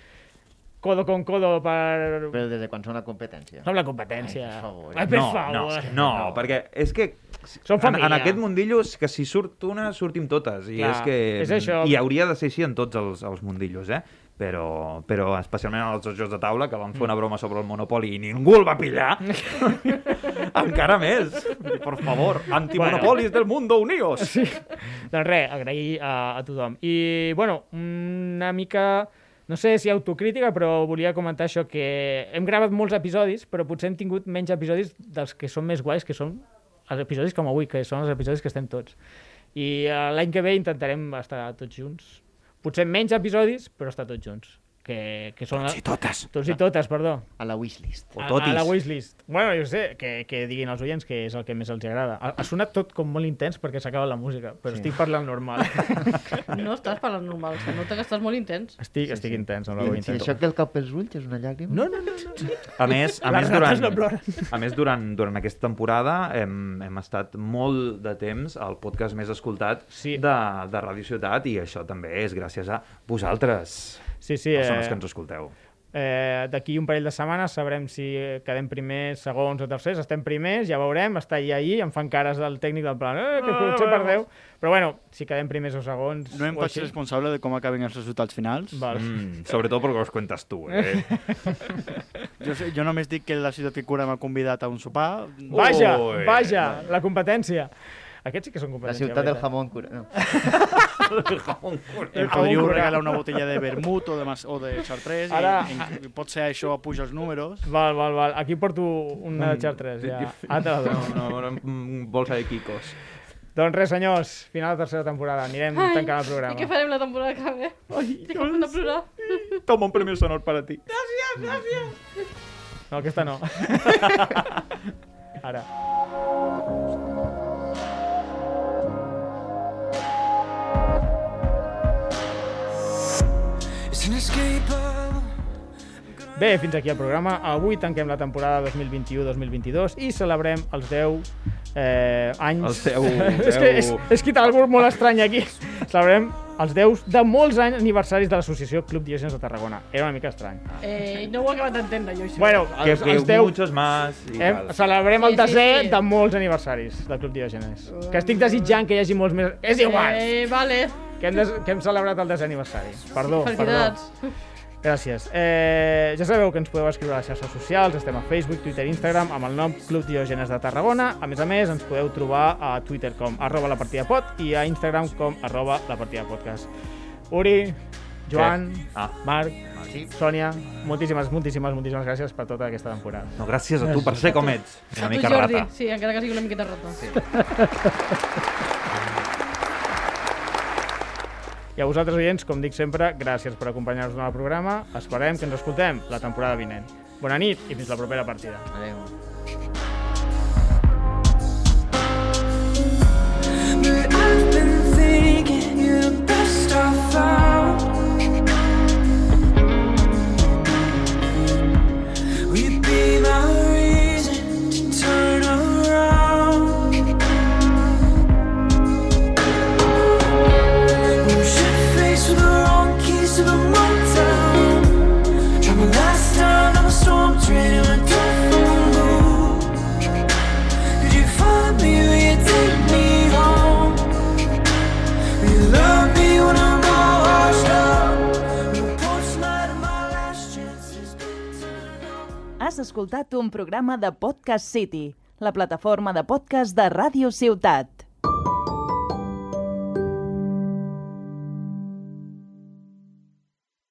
S1: codo con codo per...
S5: Però des de quan són la competència?
S1: Som la competència.
S5: Ai, per favor.
S1: Ai, per favor.
S3: No, no, no, perquè és que
S1: Som
S3: en,
S1: família.
S3: en aquest mundillo és que si surt una, sortim totes. I
S1: Clar,
S3: és que
S1: és això.
S3: I hauria de ser així en tots els, els mundillos, eh? Però, però especialment en els dos jocs de taula, que van fer
S1: Mm.
S3: una broma sobre el Monopoli i ningú el va pillar. Encara més. Per favor, antimonopolis del mundo unidos.
S1: Sí. Doncs res, agrair a, a tothom. I, bueno, una mica... No sé si autocrítica, però volia comentar això, que hem gravat molts episodis, però potser hem tingut menys episodis dels que són més guais, que són els episodis com avui, que són els episodis que estem tots. I eh, l'any que ve intentarem estar tots junts. Potser menys episodis, però estar tots junts. Que, que són... Tots i totes. Tots i totes, perdó.
S5: A la wishlist.
S1: A- A la wishlist. Bueno, jo sé, que, que diguin als oients que és el que més els agrada. Ha, ha sonat tot com molt intens perquè s'acaba la música, però sí. estic parlant normal.
S2: No estàs parlant normal, se nota que estàs molt intens.
S1: estic, sí, estic sí. intens, amb la
S5: I,
S1: veu
S5: si
S1: intensa.
S5: això que el cap pels ulls és una llàgrima?
S1: No, no, no. no.
S3: A més, a
S1: Les
S3: més,
S1: rates
S3: durant,
S1: no ploren.
S3: a més durant, durant aquesta temporada hem, hem estat molt de temps al podcast més escoltat sí. de, de Radio Ciutat i això també és gràcies a vosaltres,
S1: Sí, sí,
S3: persones
S1: eh,
S3: que ens escolteu.
S1: Eh, D'aquí un parell de setmanes sabrem si eh, quedem primers, segons o tercers. Estem primers, ja veurem, està allà ahí, em fan cares del tècnic del plan, eh, que
S13: Ah,
S1: potser
S13: veurem.
S1: perdeu. Però bueno, si quedem primers o segons...
S13: No em
S1: o
S13: faig
S1: així.
S13: responsable de com acaben els resultats finals.
S1: Val.
S3: Mm, sobretot perquè els cuentes tu, eh?
S13: Jo, sé- jo només dic que la ciutat que cura m'ha convidat a un sopar.
S1: Vaja, Ui. vaja, la competència. Aquests sí que són competència.
S13: ciutat del
S5: jamón cura. No.
S3: el jamón cura.
S13: Em podríeu regalar una botella de vermut o de, mas, o de chartres.
S1: Ara-
S13: Ara... I, i, pot ser això puja els números.
S1: Val, val, val. Aquí porto una de xartres, ja. Ah, te la dono.
S3: Mm. no, no, no, bolsa de quicos.
S1: Doncs res, senyors, final de tercera temporada. Anirem
S2: Ai,
S1: tancant el
S2: I què
S1: programa.
S2: farem la temporada que ve? Ai, Estic a punt de plorar.
S3: Toma un premio sonor per a ti.
S2: Gràcies, gràcies.
S1: No, aquesta no. Ara. Bé, fins aquí el programa. Avui tanquem la temporada 2021-2022 i celebrem els 10 eh, anys...
S3: Els 10,
S1: és que és,
S3: 10.
S1: he escrit algú molt estrany aquí. Celebrem els 10 de molts anys aniversaris de l'associació Club Diogenes de Tarragona. Era una mica estrany.
S2: Eh, no ho he acabat d'entendre, jo, això.
S1: Bueno,
S3: Que
S1: els, els
S3: viu
S1: 10...
S3: muchos más. i
S1: Hem,
S3: tal.
S1: celebrem
S2: Sí,
S1: el desè
S2: sí, sí.
S1: de molts aniversaris del Club Diògenes. Que estic desitjant que hi hagi molts més... És igual!
S2: Eh, vale.
S1: Que hem, des... que hem celebrat el desè aniversari. Perdó, perdó.
S2: Felicitats.
S1: Gràcies. Eh, ja sabeu que ens podeu escriure a les xarxes socials, estem a Facebook, Twitter i Instagram amb el nom Club Diògenes de Tarragona. A més a més, ens podeu trobar a Twitter com arroba la partida pot i a Instagram com arroba la partida podcast. Uri, Joan,
S3: Ah.
S1: Marc, Sònia, moltíssimes, moltíssimes, moltíssimes gràcies per tota aquesta temporada.
S3: No, gràcies a tu per ser com ets.
S2: A
S3: Una
S2: tu,
S3: mica
S2: Jordi.
S3: rata.
S2: Sí, encara que sigui una miqueta rata.
S1: I a vosaltres, oients, com dic sempre, gràcies per acompanyar-nos en el programa. Esperem que ens escoltem la temporada vinent. Bona nit i fins la propera partida.
S5: Adéu.
S14: But I've been thinking you're the best I found. We'd be my reason to turn around. You should face with the wrong keys to the wrong town. Trouble last time on a storm train in a different mood. Could you find me? Will you take me home? Will you love me when I'm all washed up? Will you punch light in my last chances?
S15: Has escoltat un programa de Podcast City, la plataforma de podcast de Ràdio Ciutat.